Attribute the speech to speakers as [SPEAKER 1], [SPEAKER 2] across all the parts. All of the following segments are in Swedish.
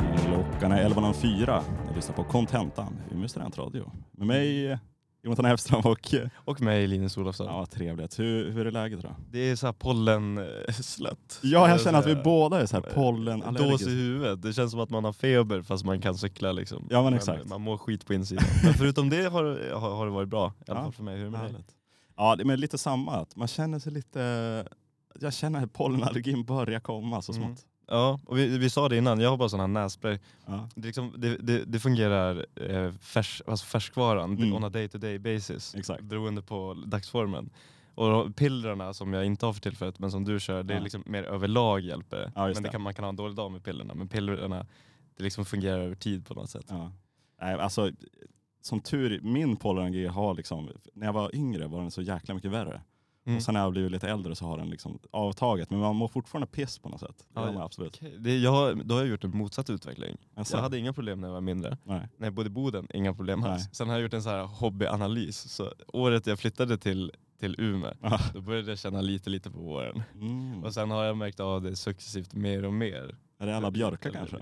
[SPEAKER 1] Klockan är 11.04. Ni lyssnar på Contentan, Umeå studentradio. Med mig, Jonathan Hellström och... eh,
[SPEAKER 2] Och mig Linus Olofsson.
[SPEAKER 1] Ja, vad trevligt. Hur, hur är läget idag?
[SPEAKER 2] Det är så här pollenslött.
[SPEAKER 1] Ja, jag
[SPEAKER 2] Det är
[SPEAKER 1] känner att
[SPEAKER 2] så
[SPEAKER 1] vi
[SPEAKER 2] här- eh,
[SPEAKER 1] båda är så här
[SPEAKER 2] Dås i
[SPEAKER 1] pollenallergiker.
[SPEAKER 2] huvudet. Det känns som att man har feber fast man kan cykla liksom.
[SPEAKER 1] Ja, men exakt.
[SPEAKER 2] Man mår skit på insidan. Men förutom det har, har, har det varit bra. I alla
[SPEAKER 1] Ja,
[SPEAKER 2] fall för mig. Hur är det med dig?
[SPEAKER 1] Härligt. Ja, det är men lite samma. Att man känner sig lite... Jag känner att pollenallergin börjar komma så
[SPEAKER 2] Mm.
[SPEAKER 1] smått.
[SPEAKER 2] Ja, och vi, vi sa det innan. Jag har bara sån här nässpray.
[SPEAKER 1] Ja.
[SPEAKER 2] Det, är liksom, det, det, det fungerar eh, färs, alltså färskvaran
[SPEAKER 1] Mm.
[SPEAKER 2] on a day to day basis.
[SPEAKER 1] Exakt.
[SPEAKER 2] Beroende på dagsformen. Och då- pillerna som jag inte har för tillfället men som du kör, det är
[SPEAKER 1] Ja.
[SPEAKER 2] liksom mer överlag hjälper det.
[SPEAKER 1] Ja, just
[SPEAKER 2] Men det
[SPEAKER 1] det.
[SPEAKER 2] kan, man kan ha en dålig dag med pillerna. Men pillerna, det liksom fungerar över tid på något sätt.
[SPEAKER 1] Ja. Nej, alltså, som tur min pollenallergi har liksom... När jag var yngre var den så jäkla mycket värre.
[SPEAKER 2] Mm.
[SPEAKER 1] Och sen när jag blivit lite äldre så har den liksom avtaget. Men man mår fortfarande piss på något sätt. Det
[SPEAKER 2] Ja,
[SPEAKER 1] gör man
[SPEAKER 2] ja.
[SPEAKER 1] absolut.
[SPEAKER 2] Okej, Det, jag, har- då har jag gjort en motsatt utveckling.
[SPEAKER 1] Alltså,
[SPEAKER 2] Jag hade inga problem när jag var mindre.
[SPEAKER 1] nej.
[SPEAKER 2] När jag bodde i Boden, inga problem
[SPEAKER 1] Nej.
[SPEAKER 2] alls. Sen har jag gjort en så här hobbyanalys. Så året jag flyttade till, till Umeå,
[SPEAKER 1] Ja.
[SPEAKER 2] då började jag känna lite lite på våren.
[SPEAKER 1] Mm.
[SPEAKER 2] Och sen har jag märkt av det successivt mer och mer.
[SPEAKER 1] Är det alla björkar kanske?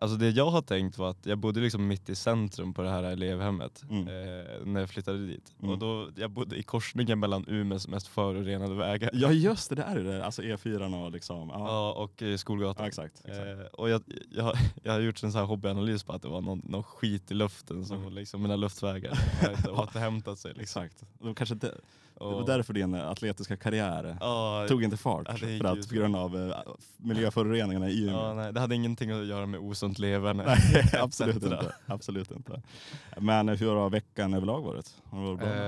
[SPEAKER 2] Alltså det jag har tänkt var att jag bodde liksom mitt i centrum på det här elevhemmet
[SPEAKER 1] Mm.
[SPEAKER 2] eh, när jag flyttade dit.
[SPEAKER 1] Mm.
[SPEAKER 2] Och då, jag bodde i korsningen mellan Umeås mest förorenade vägar
[SPEAKER 1] Ja just det, det är det. Alltså E4 och liksom. Ja, ja.
[SPEAKER 2] ja. och eh, Skolgatan.
[SPEAKER 1] exakt. exakt.
[SPEAKER 2] Eh, och jag, jag, jag har gjort en sån här hobbyanalys på att det var någon, någon skit i luften, som
[SPEAKER 1] Mm.
[SPEAKER 2] liksom mina luftvägar har inte återhämtat sig. Liksom.
[SPEAKER 1] Exakt. Det var kanske det, det
[SPEAKER 2] Och-
[SPEAKER 1] var därför din eh, atletiska karriär
[SPEAKER 2] Ja,
[SPEAKER 1] tog inte fart.
[SPEAKER 2] Ja, det gick
[SPEAKER 1] för
[SPEAKER 2] ju
[SPEAKER 1] att på
[SPEAKER 2] så.
[SPEAKER 1] grund av eh, miljöföroreningarna i Umeå.
[SPEAKER 2] ja, nej, det hade ingenting att göra med osund leverne.
[SPEAKER 1] Nej, absolut
[SPEAKER 2] etcetera.
[SPEAKER 1] inte. absolut inte. Men eh, hur har veckan överlag varit? Har det varit bra?
[SPEAKER 2] Eh,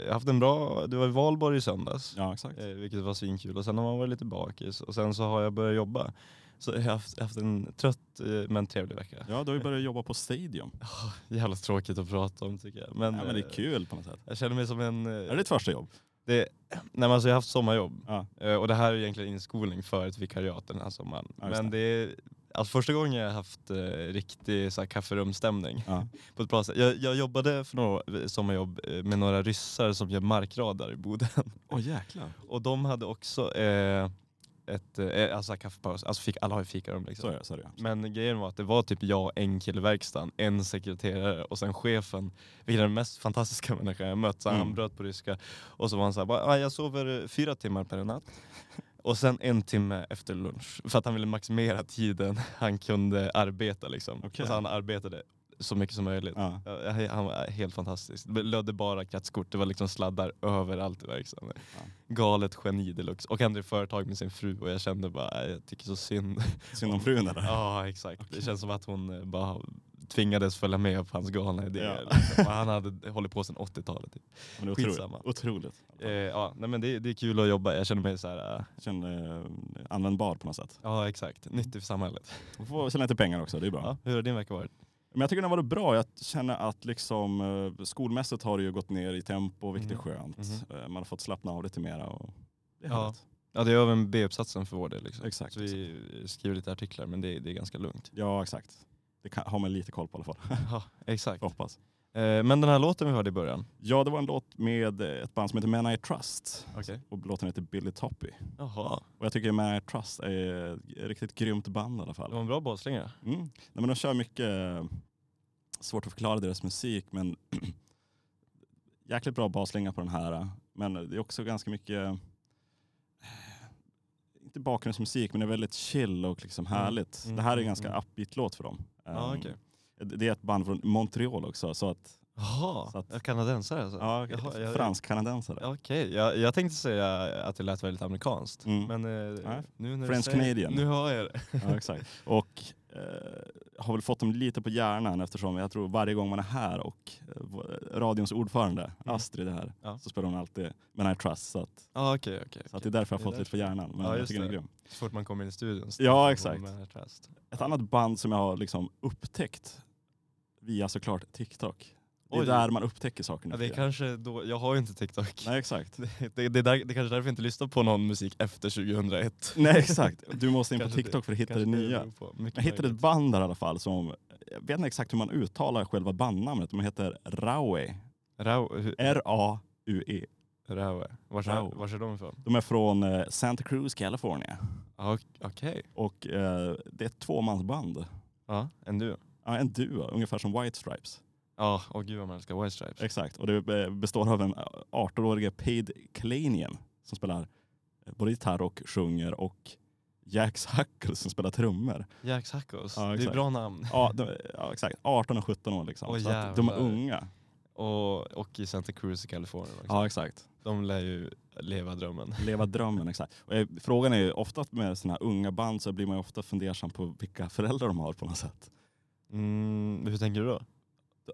[SPEAKER 2] jag har haft en bra, det var i Valborg i söndags,
[SPEAKER 1] ja, exakt.
[SPEAKER 2] eh, vilket var svinkul. Och sen har man varit lite bakis och sen så har jag börjat jobba. Så jag har haft, haft en trött eh, men trevlig vecka.
[SPEAKER 1] Ja, du har ju börjat jobba på Stadium.
[SPEAKER 2] eh, Jävla tråkigt att prata om tycker jag. Men,
[SPEAKER 1] ja, men det är
[SPEAKER 2] eh,
[SPEAKER 1] kul på något sätt.
[SPEAKER 2] Jag känner mig som en... eh,
[SPEAKER 1] Är det ditt första jobb?
[SPEAKER 2] Det, nej men alltså jag har haft sommarjobb
[SPEAKER 1] Ja.
[SPEAKER 2] Eh, och det här är egentligen inskolning för ett vikariat den här sommaren.
[SPEAKER 1] Ja, just
[SPEAKER 2] men det är alltså första gången jag har haft eh, riktig så här, kafferumsstämning
[SPEAKER 1] Ja.
[SPEAKER 2] på ett bra sätt. Jag, jag jobbade för några sommarjobb eh, med några ryssar som gör markradar i Boden
[SPEAKER 1] Åh jäklar.
[SPEAKER 2] och de hade också eh, ett, eh, alltså kaffepaus, alltså fika, alla har ju fikarum liksom.
[SPEAKER 1] Så är det. Så är det. ju.
[SPEAKER 2] Men grejen var att det var typ jag, en kille i verkstaden, en sekreterare och sen chefen, vilken är den mest fantastiska människan jag mött. Så
[SPEAKER 1] Mm.
[SPEAKER 2] Han bröt på ryska och så var han såhär, ah, jag sover eh, fyra timmar per natt. Och sen en timme efter lunch, för att han ville maximera tiden han kunde arbeta liksom.
[SPEAKER 1] Okej.
[SPEAKER 2] Och så han arbetade så mycket som möjligt.
[SPEAKER 1] Ja.
[SPEAKER 2] Ja, he- Han var helt fantastisk. Det lödde bara kretskort, det var liksom sladdar överallt i verksamheten.
[SPEAKER 1] Ja.
[SPEAKER 2] Galet geni deluxe. Och han drev företag med sin fru och jag kände bara, "Nej, jag tycker så synd
[SPEAKER 1] Synd om frun eller?
[SPEAKER 2] Ja exakt,
[SPEAKER 1] Okej.
[SPEAKER 2] det känns som att hon eh, bara tvingades följa med på hans galna idéer.
[SPEAKER 1] Ja.
[SPEAKER 2] Liksom. Och han hade hållit på sedan 80-talet. Typ.
[SPEAKER 1] Men det är
[SPEAKER 2] Skitsamma.
[SPEAKER 1] otroligt. otroligt.
[SPEAKER 2] Eh, ja, nej, men det, det är kul att jobba, jag känner mig så här. eh,
[SPEAKER 1] Känner, eh, användbar på något sätt.
[SPEAKER 2] ja exakt, nyttig för samhället.
[SPEAKER 1] Man får tjäna lite pengar också, det är bra.
[SPEAKER 2] Ja, hur har din vecka varit?
[SPEAKER 1] Men jag tycker den har varit bra. Jag känner att liksom, eh, skolmässigt har det ju gått ner i tempo, vilket är
[SPEAKER 2] Mhm.
[SPEAKER 1] skönt.
[SPEAKER 2] Mhm.
[SPEAKER 1] Eh, Man har fått slappna av lite mera. Och det är
[SPEAKER 2] Ja.
[SPEAKER 1] härligt.
[SPEAKER 2] Ja, det är över med B-uppsatsen för vår del. Liksom.
[SPEAKER 1] Exakt,
[SPEAKER 2] Så vi skriver lite artiklar men det, det är ganska lugnt.
[SPEAKER 1] ja, exakt. Det kan, har man lite koll på i alla fall.
[SPEAKER 2] Ja, exakt.
[SPEAKER 1] Jag hoppas.
[SPEAKER 2] Eh, men den här låten vi hörde i början.
[SPEAKER 1] Ja, det var en låt med eh, ett band som heter Man I Trust.
[SPEAKER 2] Okay.
[SPEAKER 1] Och låten heter Billy Toppy.
[SPEAKER 2] Jaha,
[SPEAKER 1] Och jag tycker Man I Trust är ett riktigt grymt band i alla fall.
[SPEAKER 2] det var en bra basslinga.
[SPEAKER 1] Mm. Nej, men de kör mycket, eh, svårt att förklara deras musik, men jäkligt bra basslinga på den här. eh. Men det är också ganska mycket, eh, inte bakgrundsmusik, men det är väldigt chill och liksom
[SPEAKER 2] Mm.
[SPEAKER 1] härligt.
[SPEAKER 2] Mm,
[SPEAKER 1] Det här är en
[SPEAKER 2] mm,
[SPEAKER 1] ganska
[SPEAKER 2] mm.
[SPEAKER 1] upbeat låt för dem.
[SPEAKER 2] Ja,
[SPEAKER 1] Ehm,
[SPEAKER 2] okej.
[SPEAKER 1] det- Det är ett band från Montreal också, så att, Så
[SPEAKER 2] Jaha,
[SPEAKER 1] att-
[SPEAKER 2] jag kanadensare alltså?
[SPEAKER 1] ja,
[SPEAKER 2] Jaha, jag-
[SPEAKER 1] fransk-kanadensare.
[SPEAKER 2] Okej, jag, jag tänkte säga att det lät väldigt amerikanskt.
[SPEAKER 1] Mm.
[SPEAKER 2] Men eh,
[SPEAKER 1] Nej.
[SPEAKER 2] nu när
[SPEAKER 1] French
[SPEAKER 2] du säger,
[SPEAKER 1] Canadian.
[SPEAKER 2] Nu har jag det.
[SPEAKER 1] Ja, exakt. Och eh, har väl fått dem lite på hjärnan eftersom jag tror varje gång man är här och eh, vår- radions ordförande Astrid är här
[SPEAKER 2] Mm. Ja.
[SPEAKER 1] så spelar hon alltid Men I Trust. Så, att,
[SPEAKER 2] Ja okej, okej.
[SPEAKER 1] så att det är därför jag
[SPEAKER 2] Det
[SPEAKER 1] har
[SPEAKER 2] är
[SPEAKER 1] fått lite på hjärnan. Men
[SPEAKER 2] Ja,
[SPEAKER 1] jag
[SPEAKER 2] just
[SPEAKER 1] tycker den är
[SPEAKER 2] det.
[SPEAKER 1] grym.
[SPEAKER 2] Så fort man kommer in i studion. så
[SPEAKER 1] Ja,
[SPEAKER 2] får man
[SPEAKER 1] exakt. Mm.
[SPEAKER 2] med trust.
[SPEAKER 1] Ett annat band som jag har liksom upptäckt via såklart TikTok. Det är
[SPEAKER 2] Oj.
[SPEAKER 1] där man upptäcker saker nu.
[SPEAKER 2] Ja,
[SPEAKER 1] för
[SPEAKER 2] det är
[SPEAKER 1] tiden.
[SPEAKER 2] kanske då, jag har ju inte TikTok.
[SPEAKER 1] Nej exakt.
[SPEAKER 2] Det, det, är där, det är kanske därför jag inte lyssnar på någon musik efter 2001.
[SPEAKER 1] Nej exakt. Du måste in på
[SPEAKER 2] Kanske det-
[SPEAKER 1] Tiktok för att hitta det
[SPEAKER 2] Kanske
[SPEAKER 1] nya.
[SPEAKER 2] beror på. Mycket
[SPEAKER 1] Jag hittade ett
[SPEAKER 2] möjligt.
[SPEAKER 1] band där i alla fall som, jag vet inte exakt hur man uttalar själva bandnamnet, men de heter Raue.
[SPEAKER 2] Rau, hur-
[SPEAKER 1] R-A-U-E.
[SPEAKER 2] Rau. Vars,
[SPEAKER 1] Rau.
[SPEAKER 2] är- vars är de ifrån?
[SPEAKER 1] De är från eh, Santa Cruz, California.
[SPEAKER 2] Ja, ok- Okej.
[SPEAKER 1] Och eh, det är ett tvåmansband.
[SPEAKER 2] Ja, en duo.
[SPEAKER 1] Ja, en duo, ungefär som White Stripes.
[SPEAKER 2] Ja, åh gud vad man älskar White Stripes.
[SPEAKER 1] Exakt, och det eh, består av en 18-årige Paid Kalanian som spelar eh, både gitarr och sjunger och Jax Hackles som spelar trummor.
[SPEAKER 2] Jack Hackos,
[SPEAKER 1] Ja,
[SPEAKER 2] det är
[SPEAKER 1] exakt.
[SPEAKER 2] bra namn.
[SPEAKER 1] Ja, de, ja exakt, 18 och 17 år liksom.
[SPEAKER 2] Åh,
[SPEAKER 1] så att de är
[SPEAKER 2] jävlar.
[SPEAKER 1] unga.
[SPEAKER 2] Och, och i Santa Cruz i Kalifornien också.
[SPEAKER 1] Ja exakt,
[SPEAKER 2] De lär ju leva drömmen.
[SPEAKER 1] leva drömmen exakt. Och eh, frågan är ju ofta med sådana här unga band så blir man ju ofta fundersam på vilka föräldrar de har på något sätt.
[SPEAKER 2] Mm, hur tänker du då?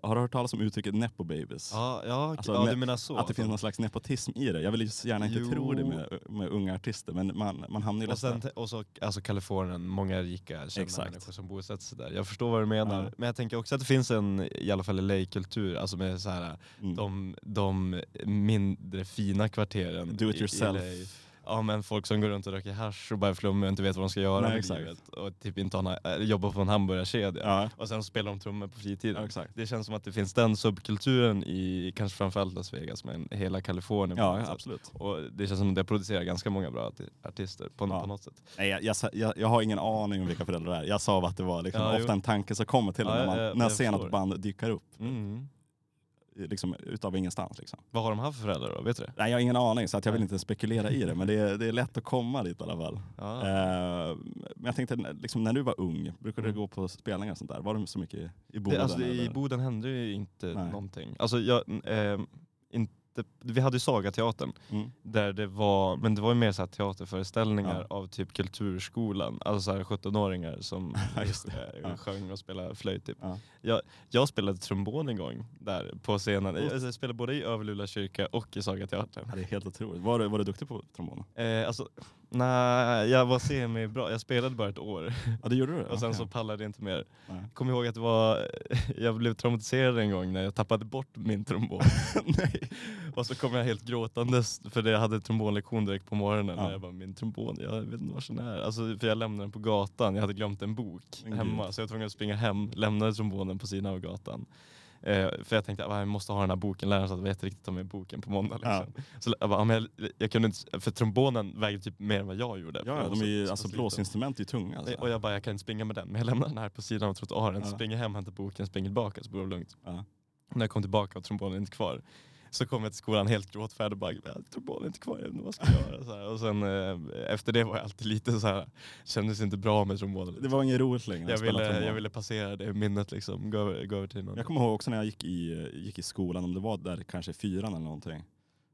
[SPEAKER 1] Har du hört talas om uttrycket nepo babies?
[SPEAKER 2] Ja, ja,
[SPEAKER 1] Alltså,
[SPEAKER 2] ja
[SPEAKER 1] ne-
[SPEAKER 2] du menar så.
[SPEAKER 1] Att det finns någon slags nepotism i det. Jag vill ju så gärna inte
[SPEAKER 2] Jo.
[SPEAKER 1] tro det med, med unga artister men man, man hamnar ju
[SPEAKER 2] och,
[SPEAKER 1] lätt
[SPEAKER 2] sen,
[SPEAKER 1] där.
[SPEAKER 2] te- och så alltså Kalifornien, många rika kända
[SPEAKER 1] Exakt.
[SPEAKER 2] människor som bosätter sig där. Jag förstår vad du menar.
[SPEAKER 1] Ja.
[SPEAKER 2] Men jag tänker också att det finns en, i alla fall LA-kultur, alltså med så här,
[SPEAKER 1] Mm.
[SPEAKER 2] de, de mindre fina kvarteren.
[SPEAKER 1] Do
[SPEAKER 2] i-
[SPEAKER 1] it
[SPEAKER 2] i LA.
[SPEAKER 1] yourself.
[SPEAKER 2] Ja men folk som går runt och röker hasch och bara är flummiga och inte vet vad de ska göra
[SPEAKER 1] Nej,
[SPEAKER 2] med
[SPEAKER 1] exakt.
[SPEAKER 2] livet. Och typ inte har, na- äh, jobbar på en hamburgarkedja.
[SPEAKER 1] Ja,
[SPEAKER 2] Och sen spelar de trummor på fritiden.
[SPEAKER 1] ja exakt.
[SPEAKER 2] Det känns som att det finns den subkulturen i kanske framförallt Las Vegas men hela Kalifornien. på något
[SPEAKER 1] Ja,
[SPEAKER 2] sätt.
[SPEAKER 1] absolut.
[SPEAKER 2] Och det känns som att det producerar ganska många bra arti- artister på,
[SPEAKER 1] Ja.
[SPEAKER 2] på något sätt.
[SPEAKER 1] Nej, jag, jag, sa- jag, jag har ingen aning om vilka föräldrar det är. Jag sa bara att det var liksom
[SPEAKER 2] Ja,
[SPEAKER 1] ofta
[SPEAKER 2] jo.
[SPEAKER 1] en tanke som kommer till en
[SPEAKER 2] Ja,
[SPEAKER 1] när, man,
[SPEAKER 2] ja, ja,
[SPEAKER 1] när jag
[SPEAKER 2] jag
[SPEAKER 1] ser något
[SPEAKER 2] förstår.
[SPEAKER 1] band dyker upp.
[SPEAKER 2] Mm.
[SPEAKER 1] Liksom, utav ingenstans. Liksom.
[SPEAKER 2] Vad har de här för föräldrar då? Vet du det?
[SPEAKER 1] Nej, jag har ingen aning så att jag vill inte spekulera i det. Men det är, det är lätt att komma dit i alla fall.
[SPEAKER 2] Ja.
[SPEAKER 1] Eh, men jag tänkte, liksom, när du var ung, brukade du
[SPEAKER 2] Mm.
[SPEAKER 1] gå på spelningar och sånt där? Var du så mycket i
[SPEAKER 2] det,
[SPEAKER 1] Boden?
[SPEAKER 2] alltså, det, I
[SPEAKER 1] eller?
[SPEAKER 2] Boden hände ju inte
[SPEAKER 1] Nej.
[SPEAKER 2] någonting. Alltså, jag, eh, inte, vi hade ju Sagateatern
[SPEAKER 1] Mm.
[SPEAKER 2] där det var, men det var ju mer så här teaterföreställningar av typ kulturskolan, alltså så här 17-åringar som
[SPEAKER 1] Ja, just det.
[SPEAKER 2] eh,
[SPEAKER 1] Ja.
[SPEAKER 2] sjöng och spelade flöjt typ.
[SPEAKER 1] Ja.
[SPEAKER 2] Jag, jag spelade trombon en gång där på scenen.
[SPEAKER 1] Oh.
[SPEAKER 2] Jag, alltså, jag spelade både i Överlula kyrka och i Sagateatern.
[SPEAKER 1] Ja, det är helt otroligt. Var du, var du duktig på trombonen?
[SPEAKER 2] Eh, alltså, nej, jag var semibra. Jag spelade bara ett år
[SPEAKER 1] Ja, det gjorde du?
[SPEAKER 2] och sen
[SPEAKER 1] Okej.
[SPEAKER 2] så pallade jag inte mer.
[SPEAKER 1] Nej.
[SPEAKER 2] Kom ihåg att det var, jag blev traumatiserad en gång när jag tappade bort min trombon.
[SPEAKER 1] Nej.
[SPEAKER 2] Och så kom jag helt gråtandes för det- jag hade trombonlektion direkt på morgonen.
[SPEAKER 1] Ja.
[SPEAKER 2] Och jag bara, min trombon, jag vet inte var den är. Alltså, för jag lämnade den på gatan, jag hade glömt en bok
[SPEAKER 1] Men
[SPEAKER 2] hemma. Så jag var tvungen att springa hem, lämnade trombonen på sidan av gatan. Eh, för jag tänkte att jag måste ha den här boken, läraren sa att det var jätteriktigt att ta med boken på måndag. Liksom. Så jag bara, "Ja, men jag, jag kunde inte, för trombonen vägde typ mer än vad jag gjorde.
[SPEAKER 1] Ja,
[SPEAKER 2] För
[SPEAKER 1] ja,
[SPEAKER 2] den var
[SPEAKER 1] de är
[SPEAKER 2] så-
[SPEAKER 1] ju,
[SPEAKER 2] så
[SPEAKER 1] alltså,
[SPEAKER 2] pass liten.
[SPEAKER 1] blåsinstrument är ju tunga. Alltså.
[SPEAKER 2] Nej, Eh, Och jag bara, jag kan inte springa med den. Men jag lämnar den här på sidan av trottoaren,
[SPEAKER 1] Ja.
[SPEAKER 2] springer hem, hämtar boken, springer tillbaka så blir det lugnt.
[SPEAKER 1] Ja.
[SPEAKER 2] När jag kom tillbaka var trombonen inte kvar. Så kom jag till skolan helt gråtfärdig och bara, "Ja, trombonen är inte kvar, jag vet inte vad jag ska göra. Så här. Och sen eh, efter det var jag alltid lite så här, kändes inte bra med trombonen.
[SPEAKER 1] Det var inget roligt längre.
[SPEAKER 2] jag,
[SPEAKER 1] att spela
[SPEAKER 2] ville,
[SPEAKER 1] trombon.
[SPEAKER 2] jag ville passera det minnet liksom, gå över, gå över till någon.
[SPEAKER 1] Jag kommer ihåg också när jag gick i, gick i skolan, om det var där kanske i fyran eller någonting,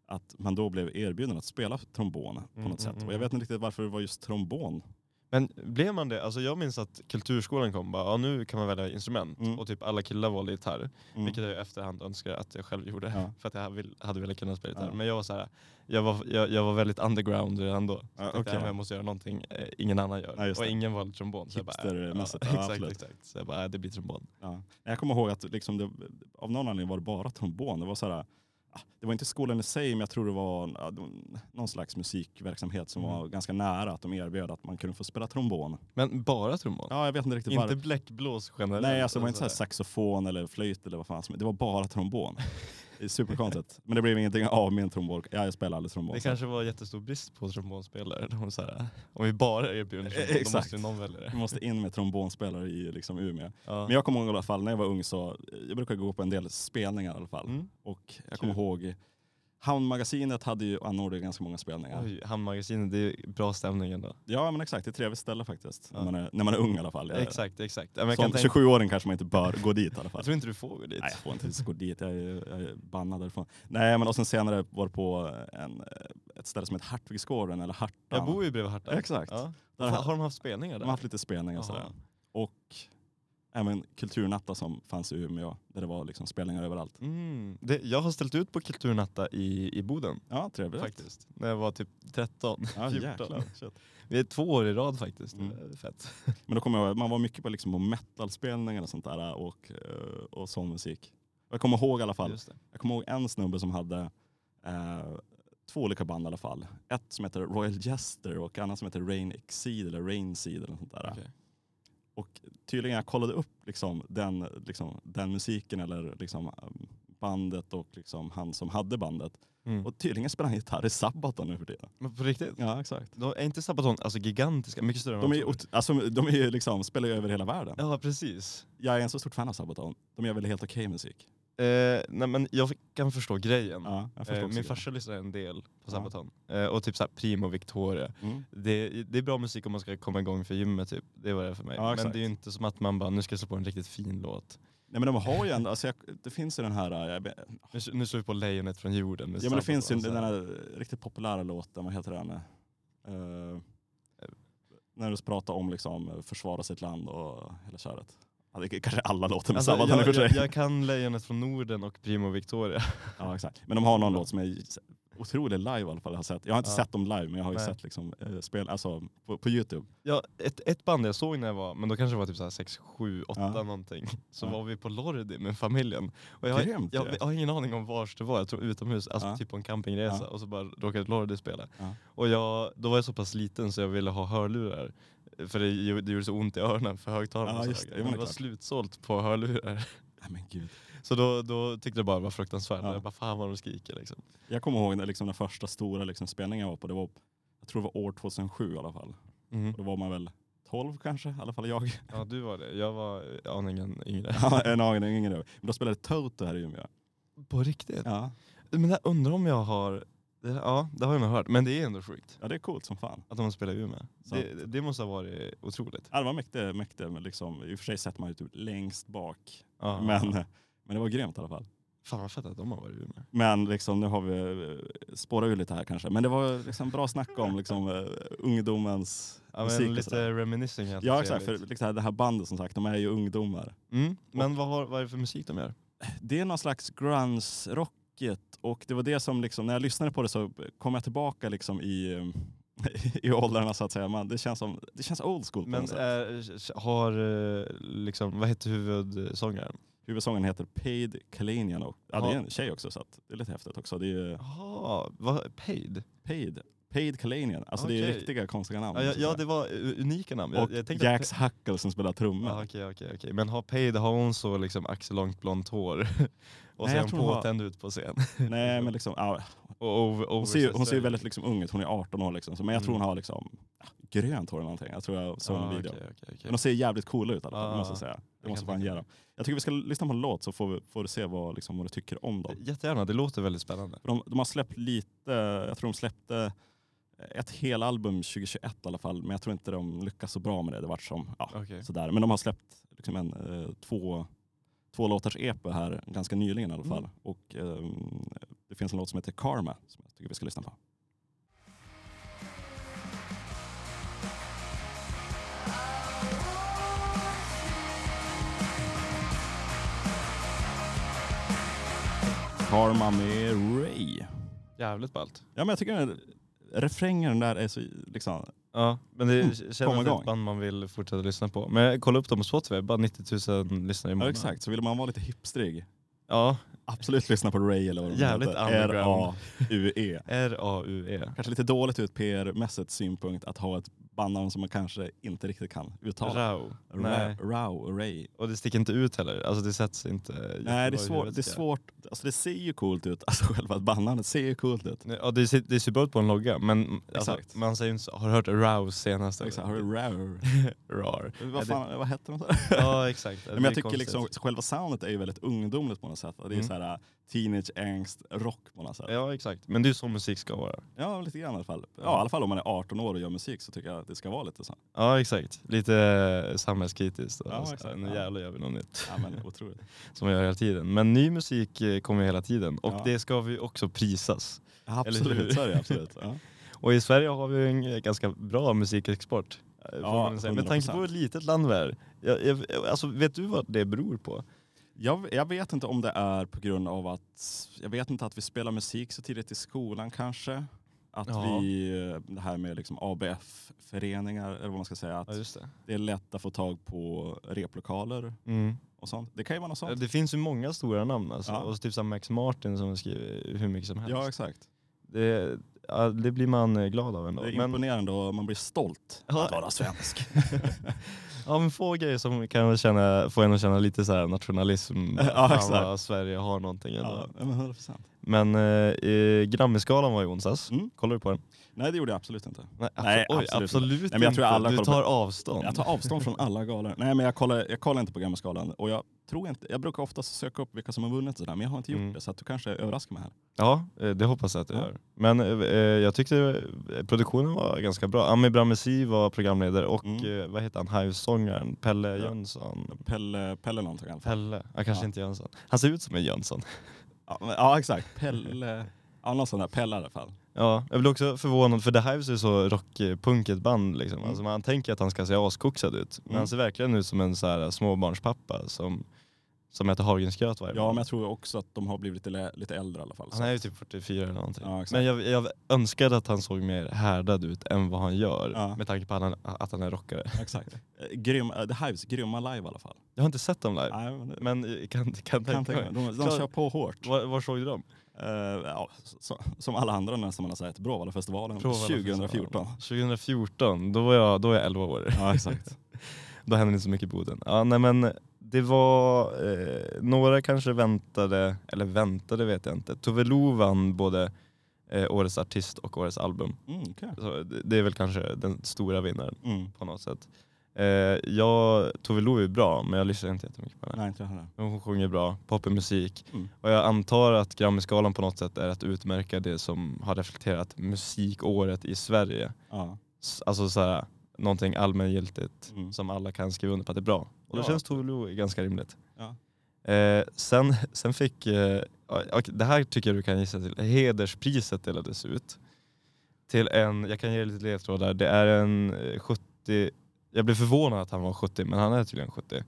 [SPEAKER 1] att man då blev erbjuden att spela trombon på
[SPEAKER 2] Mm,
[SPEAKER 1] något
[SPEAKER 2] mm,
[SPEAKER 1] sätt.
[SPEAKER 2] mm.
[SPEAKER 1] Och jag vet inte riktigt varför det var just trombon.
[SPEAKER 2] Men blev man det? Alltså jag minns att kulturskolan kom bara, ja nu kan man välja instrument.
[SPEAKER 1] Mm.
[SPEAKER 2] Och typ alla killar valde gitarr.
[SPEAKER 1] Mm.
[SPEAKER 2] Vilket jag i efterhand önskar att jag själv gjorde.
[SPEAKER 1] Ja.
[SPEAKER 2] För att jag vill, hade velat kunna spela gitarr.
[SPEAKER 1] Ja.
[SPEAKER 2] Men jag var, så här, jag, var, jag, jag var väldigt underground redan då. Så
[SPEAKER 1] Ja,
[SPEAKER 2] jag tänkte,
[SPEAKER 1] okej.
[SPEAKER 2] "Ja, men jag måste göra någonting eh, ingen annan gör.
[SPEAKER 1] Ja, just
[SPEAKER 2] och
[SPEAKER 1] det.
[SPEAKER 2] ingen valde trombon. Så jag bara, äh, ja,
[SPEAKER 1] Hipstermässigt, ja,
[SPEAKER 2] exakt,
[SPEAKER 1] absolut.
[SPEAKER 2] exakt. Så jag bara, äh, det blir trombon.
[SPEAKER 1] Ja. Jag kommer ihåg att liksom det, av någon anledning var det bara trombon. Det var, så här, ah, det var inte skolan i sig, men jag tror det var ah, de- någon slags musikverksamhet som
[SPEAKER 2] Mm.
[SPEAKER 1] var ganska nära att de erbjöd att man kunde få spela trombon.
[SPEAKER 2] Men bara trombon?
[SPEAKER 1] Ja, jag vet inte riktigt
[SPEAKER 2] inte
[SPEAKER 1] varför.
[SPEAKER 2] bläckblås generellt?
[SPEAKER 1] Nej, alltså det var inte så här
[SPEAKER 2] Alltså,
[SPEAKER 1] saxofon eller flöjt eller vad fan som Det var bara trombon. Det är Superkonstigt. Men det blev ingenting av min trombon. Ja, jag spelar aldrig trombon.
[SPEAKER 2] Det
[SPEAKER 1] så-
[SPEAKER 2] kanske var jättestor brist på trombonspelare. De var så här, om vi bara erbjuder
[SPEAKER 1] Eh,
[SPEAKER 2] trombon, då
[SPEAKER 1] exakt.
[SPEAKER 2] måste ju någon välja det.
[SPEAKER 1] Vi måste in med trombonspelare i liksom Umeå.
[SPEAKER 2] Ja.
[SPEAKER 1] Men jag kommer ihåg i alla fall när jag var ung så, jag brukar gå på en del spelningar i alla fall.
[SPEAKER 2] Mm.
[SPEAKER 1] Och jag
[SPEAKER 2] Kul.
[SPEAKER 1] kommer ihåg, Hamnmagasinet hade ju anordnat ganska många spelningar.
[SPEAKER 2] Mm. Oj, Hamnmagasinet, det är bra stämning ändå.
[SPEAKER 1] Ja men exakt, det är ett trevligt ställe faktiskt.
[SPEAKER 2] Ja.
[SPEAKER 1] När, man är, när man är ung i alla fall. Jag,
[SPEAKER 2] Exakt, exakt. Ja, men jag,
[SPEAKER 1] som
[SPEAKER 2] kan tänka,
[SPEAKER 1] 27-åring kanske man inte bör gå dit i alla fall.
[SPEAKER 2] jag tror inte du får gå dit.
[SPEAKER 1] Nej, jag får inte ens gå dit. Jag är, jag är bannad därifrån. Nej, men och sen senare var det på en, ett ställe som heter Hartvigsgården eller Hartan.
[SPEAKER 2] Jag bor ju bredvid Harta.
[SPEAKER 1] Exakt.
[SPEAKER 2] Ja.
[SPEAKER 1] Där
[SPEAKER 2] Har de haft spelningar
[SPEAKER 1] de
[SPEAKER 2] där?
[SPEAKER 1] har haft lite spelningar och
[SPEAKER 2] Jaha.
[SPEAKER 1] sådär. Och även kulturnatta som fanns i Umeå där det var liksom spelningar överallt.
[SPEAKER 2] Mm. Det, jag har ställt ut på Kulturnatta i, i Boden
[SPEAKER 1] Ja, trevligt.
[SPEAKER 2] faktiskt. När jag var typ 13,
[SPEAKER 1] Ja,
[SPEAKER 2] 14.
[SPEAKER 1] jäklar.
[SPEAKER 2] Vi är två år i rad faktiskt.
[SPEAKER 1] Mm.
[SPEAKER 2] Det är Fett.
[SPEAKER 1] Men då kommer jag ihåg, man var mycket på, liksom, på metalspelningar och sånt där och, eh, och sån musik. Och Jag kommer ihåg i alla fall,
[SPEAKER 2] det.
[SPEAKER 1] jag kommer ihåg en snubbe som hade eh, två olika band i alla fall. Ett som heter Royal Jester och annat som heter Rain Exceed eller Rain Seed eller något sånt där.
[SPEAKER 2] Okej.
[SPEAKER 1] Och tydligen jag kollade upp liksom, den, ehm, liksom, den musiken eller liksom, um, bandet och liksom, han som hade bandet.
[SPEAKER 2] Mm.
[SPEAKER 1] Och tydligen spelar han gitarr i Sabaton nu för tiden.
[SPEAKER 2] Men på riktigt?
[SPEAKER 1] Ja, exakt.
[SPEAKER 2] Då är inte Sabaton alltså gigantiska? Mycket större än
[SPEAKER 1] De
[SPEAKER 2] vad
[SPEAKER 1] är ju,
[SPEAKER 2] man
[SPEAKER 1] ot- alltså, de är ju liksom, spelar ju över hela världen.
[SPEAKER 2] tror. Ja, precis.
[SPEAKER 1] Jag är en så stort fan av Sabaton. De gör väl helt okej musik.
[SPEAKER 2] Eh, nej, men jag kan förstå grejen.
[SPEAKER 1] Ja, jag förstår
[SPEAKER 2] eh,
[SPEAKER 1] också
[SPEAKER 2] min
[SPEAKER 1] det.
[SPEAKER 2] farsa lyssnar en del
[SPEAKER 1] Ja.
[SPEAKER 2] på Sabaton. Eh, och typ så här Primo Victoria.
[SPEAKER 1] Mm.
[SPEAKER 2] Det, det är bra musik om man ska komma igång för gymmet typ. Det var det för mig.
[SPEAKER 1] Ja,
[SPEAKER 2] men
[SPEAKER 1] exakt.
[SPEAKER 2] det är ju inte som att man bara, nu ska jag slå på en riktigt fin låt.
[SPEAKER 1] Nej men de har ju ändå, alltså jag, det finns ju den här, eh, jag, be-
[SPEAKER 2] Nu, nu slår vi på Lejonet från jorden. med alltså.
[SPEAKER 1] ja men det
[SPEAKER 2] Sabaton,
[SPEAKER 1] finns ju
[SPEAKER 2] så
[SPEAKER 1] den
[SPEAKER 2] här.
[SPEAKER 1] här riktigt populära låten, vad heter den? Eh, när du pratar om liksom försvara sitt land och hela köret. Ja, det är kanske alla låtar med
[SPEAKER 2] Alltså,
[SPEAKER 1] Sabaton i och för
[SPEAKER 2] jag, jag,
[SPEAKER 1] sig.
[SPEAKER 2] jag kan Lejonet från Norden och Primo Victoria.
[SPEAKER 1] Ja, exakt. Men de har någon låt som är otrolig live i alla fall. Jag har, sett. Jag har inte
[SPEAKER 2] Ja.
[SPEAKER 1] sett dem live men jag har ju
[SPEAKER 2] Nej.
[SPEAKER 1] sett liksom, eh, spel, alltså, på, på Youtube.
[SPEAKER 2] Ja, ett, ett band jag såg när jag var, men då kanske det var typ så här 6, 7, 8
[SPEAKER 1] Ja.
[SPEAKER 2] någonting. Så
[SPEAKER 1] Ja.
[SPEAKER 2] var vi på Lordi med familjen. Och jag, har-
[SPEAKER 1] Grymt
[SPEAKER 2] jag,
[SPEAKER 1] ju.
[SPEAKER 2] jag har ingen aning om vars det var, jag tror utomhus, alltså
[SPEAKER 1] Ja.
[SPEAKER 2] typ på en campingresa.
[SPEAKER 1] Ja.
[SPEAKER 2] Och så bara råkade Lordi spela.
[SPEAKER 1] Ja.
[SPEAKER 2] Och jag, då var jag så pass liten så jag ville ha hörlurar. För det, gjo- det gjorde så ont i öronen för högtalarna.
[SPEAKER 1] Ja,
[SPEAKER 2] så
[SPEAKER 1] just
[SPEAKER 2] högt.
[SPEAKER 1] det. Jo,
[SPEAKER 2] Men
[SPEAKER 1] men
[SPEAKER 2] det var
[SPEAKER 1] klart.
[SPEAKER 2] slutsålt på hörlurar.
[SPEAKER 1] Nej, men gud.
[SPEAKER 2] Så då, då tyckte jag bara det var fruktansvärt.
[SPEAKER 1] Ja.
[SPEAKER 2] Jag bara fan vad de skriker liksom.
[SPEAKER 1] Jag kommer ihåg när, liksom, den första stora liksom, spelningen jag var på. Det var, jag tror det var år 2007 i alla fall.
[SPEAKER 2] Mm.
[SPEAKER 1] Och då var man väl 12 kanske, i alla fall jag.
[SPEAKER 2] Ja du var det, jag var aningen yngre.
[SPEAKER 1] Ja, en aning, ingen över. Men då spelade Toto här i Umeå.
[SPEAKER 2] På riktigt?
[SPEAKER 1] Ja.
[SPEAKER 2] Men jag undrar om jag har, det- ja det har jag nog hört. Men det är ändå sjukt
[SPEAKER 1] ja, det är coolt som fan.
[SPEAKER 2] att de spelar i Umeå.
[SPEAKER 1] Så
[SPEAKER 2] Det, det måste ha varit otroligt.
[SPEAKER 1] Ja, det var mäktigt, mäktigt men liksom, i och för sig sätter man ju typ längst bak.
[SPEAKER 2] Ja.
[SPEAKER 1] Men, men det var grymt i alla fall.
[SPEAKER 2] Fan vad fett att de har varit i Umeå.
[SPEAKER 1] Men liksom, nu har vi eh, spårat ur lite här kanske. Men det var liksom bra snack om liksom, eh, ungdomens
[SPEAKER 2] Ja,
[SPEAKER 1] musik.
[SPEAKER 2] men
[SPEAKER 1] och sådär.
[SPEAKER 2] lite reminiscing. är alltid
[SPEAKER 1] Ja exakt, för
[SPEAKER 2] trevligt.
[SPEAKER 1] liksom, det här bandet som sagt, de är ju ungdomar.
[SPEAKER 2] Mm. Men vad, har, vad är det för musik de gör?
[SPEAKER 1] Det är någon slags grunge-rocket och det var det som liksom, när jag lyssnade på det så kom jag tillbaka liksom i, eh, i åldrarna så att säga. Man, det, känns som, det känns old school på
[SPEAKER 2] Men
[SPEAKER 1] något sätt.
[SPEAKER 2] är, har, eh, liksom, vad heter huvudsångaren?
[SPEAKER 1] Huvudsången heter Paid Kalenian och ja, det
[SPEAKER 2] Ja.
[SPEAKER 1] är en tjej också så att det är lite häftigt också. Det är ju
[SPEAKER 2] Jaha, vad, Paid?
[SPEAKER 1] Paid, Paid Kalenian, alltså det är
[SPEAKER 2] Okej.
[SPEAKER 1] riktiga konstiga namn.
[SPEAKER 2] Ja,
[SPEAKER 1] så
[SPEAKER 2] ja,
[SPEAKER 1] att
[SPEAKER 2] ja
[SPEAKER 1] säga.
[SPEAKER 2] det var u- unika namn.
[SPEAKER 1] och
[SPEAKER 2] tänkte att
[SPEAKER 1] Jax Hackel som spelar trummor.
[SPEAKER 2] Ja, okej, okej, okej. Men har Paid, har hon så liksom axellångt blont hår? Och
[SPEAKER 1] Nej,
[SPEAKER 2] så är
[SPEAKER 1] jag
[SPEAKER 2] hon
[SPEAKER 1] tror hon har-
[SPEAKER 2] påtänd ut på scen?
[SPEAKER 1] Nej men liksom, ja,
[SPEAKER 2] Och over,
[SPEAKER 1] hon, ser ju, hon ser ju väldigt liksom ung ut, hon är 18 år liksom. Så, men jag tror
[SPEAKER 2] Mm.
[SPEAKER 1] hon har liksom ja, grönt hår eller någonting. Jag tror jag såg en video.
[SPEAKER 2] Okej, okej, okej.
[SPEAKER 1] Men de ser jävligt coola ut i alla fall,
[SPEAKER 2] Ja,
[SPEAKER 1] måste jag säga. Det
[SPEAKER 2] jag
[SPEAKER 1] måste
[SPEAKER 2] kan
[SPEAKER 1] fan
[SPEAKER 2] tänka
[SPEAKER 1] ge dem. Jag tycker vi ska lyssna på en låt så får, vi, får du se vad, liksom, vad du tycker om dem.
[SPEAKER 2] Jättegärna, det låter väldigt spännande.
[SPEAKER 1] För de, de har släppt lite, jag tror de släppte ett helalbum 2021 i alla fall, men jag tror inte de lyckas så bra med det. Det vart som, ja,
[SPEAKER 2] Okej.
[SPEAKER 1] sådär. Men de har släppt liksom en, eh, två, två låtars EP här ganska nyligen i alla fall.
[SPEAKER 2] Mm.
[SPEAKER 1] Och ehm, det finns en låt som heter Karma som jag tycker vi ska lyssna på. Karma med Ray.
[SPEAKER 2] Jävligt ballt.
[SPEAKER 1] Ja men jag tycker den- refrängen där är så liksom,
[SPEAKER 2] Ja, men det känns
[SPEAKER 1] kom
[SPEAKER 2] som
[SPEAKER 1] igång.
[SPEAKER 2] ett band man vill fortsätta lyssna på. Men kolla upp dem på Spotify, bara 90 000 lyssnare i
[SPEAKER 1] ja
[SPEAKER 2] månaden.
[SPEAKER 1] exakt, så vill man vara lite hipstrig,
[SPEAKER 2] Ja,
[SPEAKER 1] absolut lyssna på Ray eller vad de
[SPEAKER 2] Jävligt
[SPEAKER 1] heter.
[SPEAKER 2] underground.
[SPEAKER 1] R-A-U-E.
[SPEAKER 2] R-A-U-E.
[SPEAKER 1] Kanske lite dåligt ur PR-mässigt synpunkt att ha ett bandnamn som man kanske inte riktigt kan uttala.
[SPEAKER 2] Rau.
[SPEAKER 1] Ra-
[SPEAKER 2] Nej.
[SPEAKER 1] Rau, Ray.
[SPEAKER 2] Och det sticker inte ut heller, alltså det sätts inte jättebra
[SPEAKER 1] Nej
[SPEAKER 2] i
[SPEAKER 1] det är, svår,
[SPEAKER 2] huvudet,
[SPEAKER 1] det är
[SPEAKER 2] tycker jag.
[SPEAKER 1] svårt, alltså det ser ju coolt ut, alltså själva bandnamnet ser ju coolt ut.
[SPEAKER 2] Ja, det ser, det ser bra ut på en logga, men alltså,
[SPEAKER 1] Exakt.
[SPEAKER 2] man säger ju inte så. Har du hört Rau senast? eller?
[SPEAKER 1] Exakt, har du Rau?
[SPEAKER 2] Rar.
[SPEAKER 1] Vad, fan, vad hette de? så?
[SPEAKER 2] Ja, exakt.
[SPEAKER 1] Men jag tycker liksom, själva soundet är ju väldigt ungdomligt på något sätt. Det är ju
[SPEAKER 2] Mm.
[SPEAKER 1] så här äh, teenage angst rock på något sätt.
[SPEAKER 2] Ja, exakt. Men det är ju så musik ska vara.
[SPEAKER 1] Ja, lite grann i alla fall. Ja, i alla fall om man är 18 år och gör musik så tycker jag att det ska vara lite så.
[SPEAKER 2] Ja, exakt. Lite eh, samhällskritiskt. och
[SPEAKER 1] Ja,
[SPEAKER 2] så här,
[SPEAKER 1] exakt.
[SPEAKER 2] Nu
[SPEAKER 1] Ja.
[SPEAKER 2] jävlar gör vi något nytt.
[SPEAKER 1] Ja, men otroligt.
[SPEAKER 2] Som vi gör hela tiden. Men ny musik eh, kommer ju hela tiden och
[SPEAKER 1] Ja.
[SPEAKER 2] det ska vi också prisas.
[SPEAKER 1] Ja,
[SPEAKER 2] Eller hur?
[SPEAKER 1] absolut, så är det absolut. Ja.
[SPEAKER 2] Och i Sverige har vi ju en eh, ganska bra musikexport. eh, får
[SPEAKER 1] Ja,
[SPEAKER 2] man väl säga. Med tanke på
[SPEAKER 1] 100%.
[SPEAKER 2] hur litet land vi är. Jag, jag, alltså, vet du vad det beror på?
[SPEAKER 1] Jag, jag vet inte om det är på grund av att, jag vet inte att vi spelar musik så tidigt i skolan kanske. Att
[SPEAKER 2] Ja.
[SPEAKER 1] vi, eh, det här med liksom ABF-föreningar eller vad man ska säga, att
[SPEAKER 2] just det.
[SPEAKER 1] det är lätt att få tag på replokaler
[SPEAKER 2] Mm.
[SPEAKER 1] och sånt. Det kan ju vara något
[SPEAKER 2] Ja,
[SPEAKER 1] sånt.
[SPEAKER 2] Det finns ju många stora namn alltså.
[SPEAKER 1] Ja.
[SPEAKER 2] Och så typ som Max Martin som skriver hur mycket som helst.
[SPEAKER 1] Ja, exakt.
[SPEAKER 2] Det, ja, det blir man eh, glad av ändå.
[SPEAKER 1] Det är
[SPEAKER 2] Men-
[SPEAKER 1] imponerande och man blir stolt
[SPEAKER 2] Ja.
[SPEAKER 1] att vara svensk.
[SPEAKER 2] Ja men få grejer som kan jag känna, få en att känna lite så här nationalism,
[SPEAKER 1] Ja,
[SPEAKER 2] Fan,
[SPEAKER 1] exakt.
[SPEAKER 2] vad Sverige har någonting. Ändå.
[SPEAKER 1] Ja, men 100 procent.
[SPEAKER 2] Men eh, eh, Grammisgalan var i onsdags.
[SPEAKER 1] Mm.
[SPEAKER 2] Kollar du på den?
[SPEAKER 1] Nej det gjorde jag absolut inte.
[SPEAKER 2] Nej,
[SPEAKER 1] Nej,
[SPEAKER 2] oj,
[SPEAKER 1] absolut
[SPEAKER 2] absolut
[SPEAKER 1] Nej,
[SPEAKER 2] inte.
[SPEAKER 1] men jag tror alla
[SPEAKER 2] du
[SPEAKER 1] kollar på-
[SPEAKER 2] tar avstånd.
[SPEAKER 1] Jag tar avstånd från alla galor. Nej men jag kollar, jag kollar inte på Grammisgalan och jag tror inte, jag brukar oftast söka upp vilka som har vunnit sådär men jag har inte gjort
[SPEAKER 2] Mm.
[SPEAKER 1] det så att du kanske överraskar mig här.
[SPEAKER 2] Ja, eh, det hoppas jag att du
[SPEAKER 1] Ja.
[SPEAKER 2] gör. Men eh, eh, jag tyckte eh, produktionen var ganska bra. Ami Bramesi var programledare och
[SPEAKER 1] Mm.
[SPEAKER 2] eh, vad heter han, Hive-sångaren Pelle
[SPEAKER 1] Ja.
[SPEAKER 2] Jönsson.
[SPEAKER 1] Pelle, Pelle någonting i alla fall.
[SPEAKER 2] Pelle, ja, kanske
[SPEAKER 1] Ja.
[SPEAKER 2] inte Jönsson. Han ser ut som en Jönsson.
[SPEAKER 1] Ja, men, ja exakt, Pelle, ja någon sån där Pelle i alla fall.
[SPEAKER 2] Ja, jag blev också förvånad för The Hives är så rockpunkigt band liksom. Alltså man tänker att han ska se askoxad ut. Men
[SPEAKER 1] Mm.
[SPEAKER 2] han ser verkligen ut som en så här äh, småbarnspappa som, som äter havregrynsgröt varje
[SPEAKER 1] Ja
[SPEAKER 2] morgon.
[SPEAKER 1] men jag tror också att de har blivit lite, lite äldre i alla fall.
[SPEAKER 2] Han är ju typ 44 eller någonting.
[SPEAKER 1] Ja, exakt.
[SPEAKER 2] men jag, jag önskade att han såg mer härdad ut än vad han gör.
[SPEAKER 1] Ja.
[SPEAKER 2] Med tanke på att han, att han är rockare.
[SPEAKER 1] Exakt. Eh, Grym, eh, The Hives, grymma live i alla fall.
[SPEAKER 2] Jag har inte sett dem live.
[SPEAKER 1] Nej, men det,
[SPEAKER 2] Men jag kan, kan
[SPEAKER 1] kan
[SPEAKER 2] tänka
[SPEAKER 1] tänka mig.
[SPEAKER 2] mig.
[SPEAKER 1] De, de
[SPEAKER 2] Klar.
[SPEAKER 1] kör på hårt.
[SPEAKER 2] Var, var såg du dem?
[SPEAKER 1] Eh, ja, så, som alla andra nästan man har sett. Bråvallafestivalen
[SPEAKER 2] Provalafestivalen.
[SPEAKER 1] 2014.
[SPEAKER 2] 2014, då var jag, då var jag 11 år.
[SPEAKER 1] Ja exakt.
[SPEAKER 2] Då hände det inte så mycket i Boden. Ja, nej, men det var, eh, några kanske väntade, eller väntade vet jag inte. Tove Lo vann både eh, årets artist och årets album.
[SPEAKER 1] Mm, okej.
[SPEAKER 2] Så det, det är väl kanske den stora vinnaren
[SPEAKER 1] mm.
[SPEAKER 2] på något sätt. Eh, jag, Tove Lo är bra, men jag lyssnar inte jättemycket på henne.
[SPEAKER 1] Nej inte det här.
[SPEAKER 2] Men Hon sjunger bra, poppig musik.
[SPEAKER 1] Mm.
[SPEAKER 2] Och jag antar att Grammisgalan på något sätt är att utmärka det som har reflekterat musikåret i Sverige.
[SPEAKER 1] Ja.
[SPEAKER 2] S- Alltså såhär, någonting allmängiltigt
[SPEAKER 1] Mm.
[SPEAKER 2] som alla kan skriva under på att det är bra. Och då
[SPEAKER 1] Ja.
[SPEAKER 2] känns Tove Lo ganska rimligt.
[SPEAKER 1] Ja.
[SPEAKER 2] Eh, sen, sen fick, eh, ja, okej, det här tycker jag du kan gissa till, hederspriset delades ut. Till en, jag kan ge lite ledtrådar, det är en eh, 70, jag blev förvånad att han var 70 men han är tydligen 70,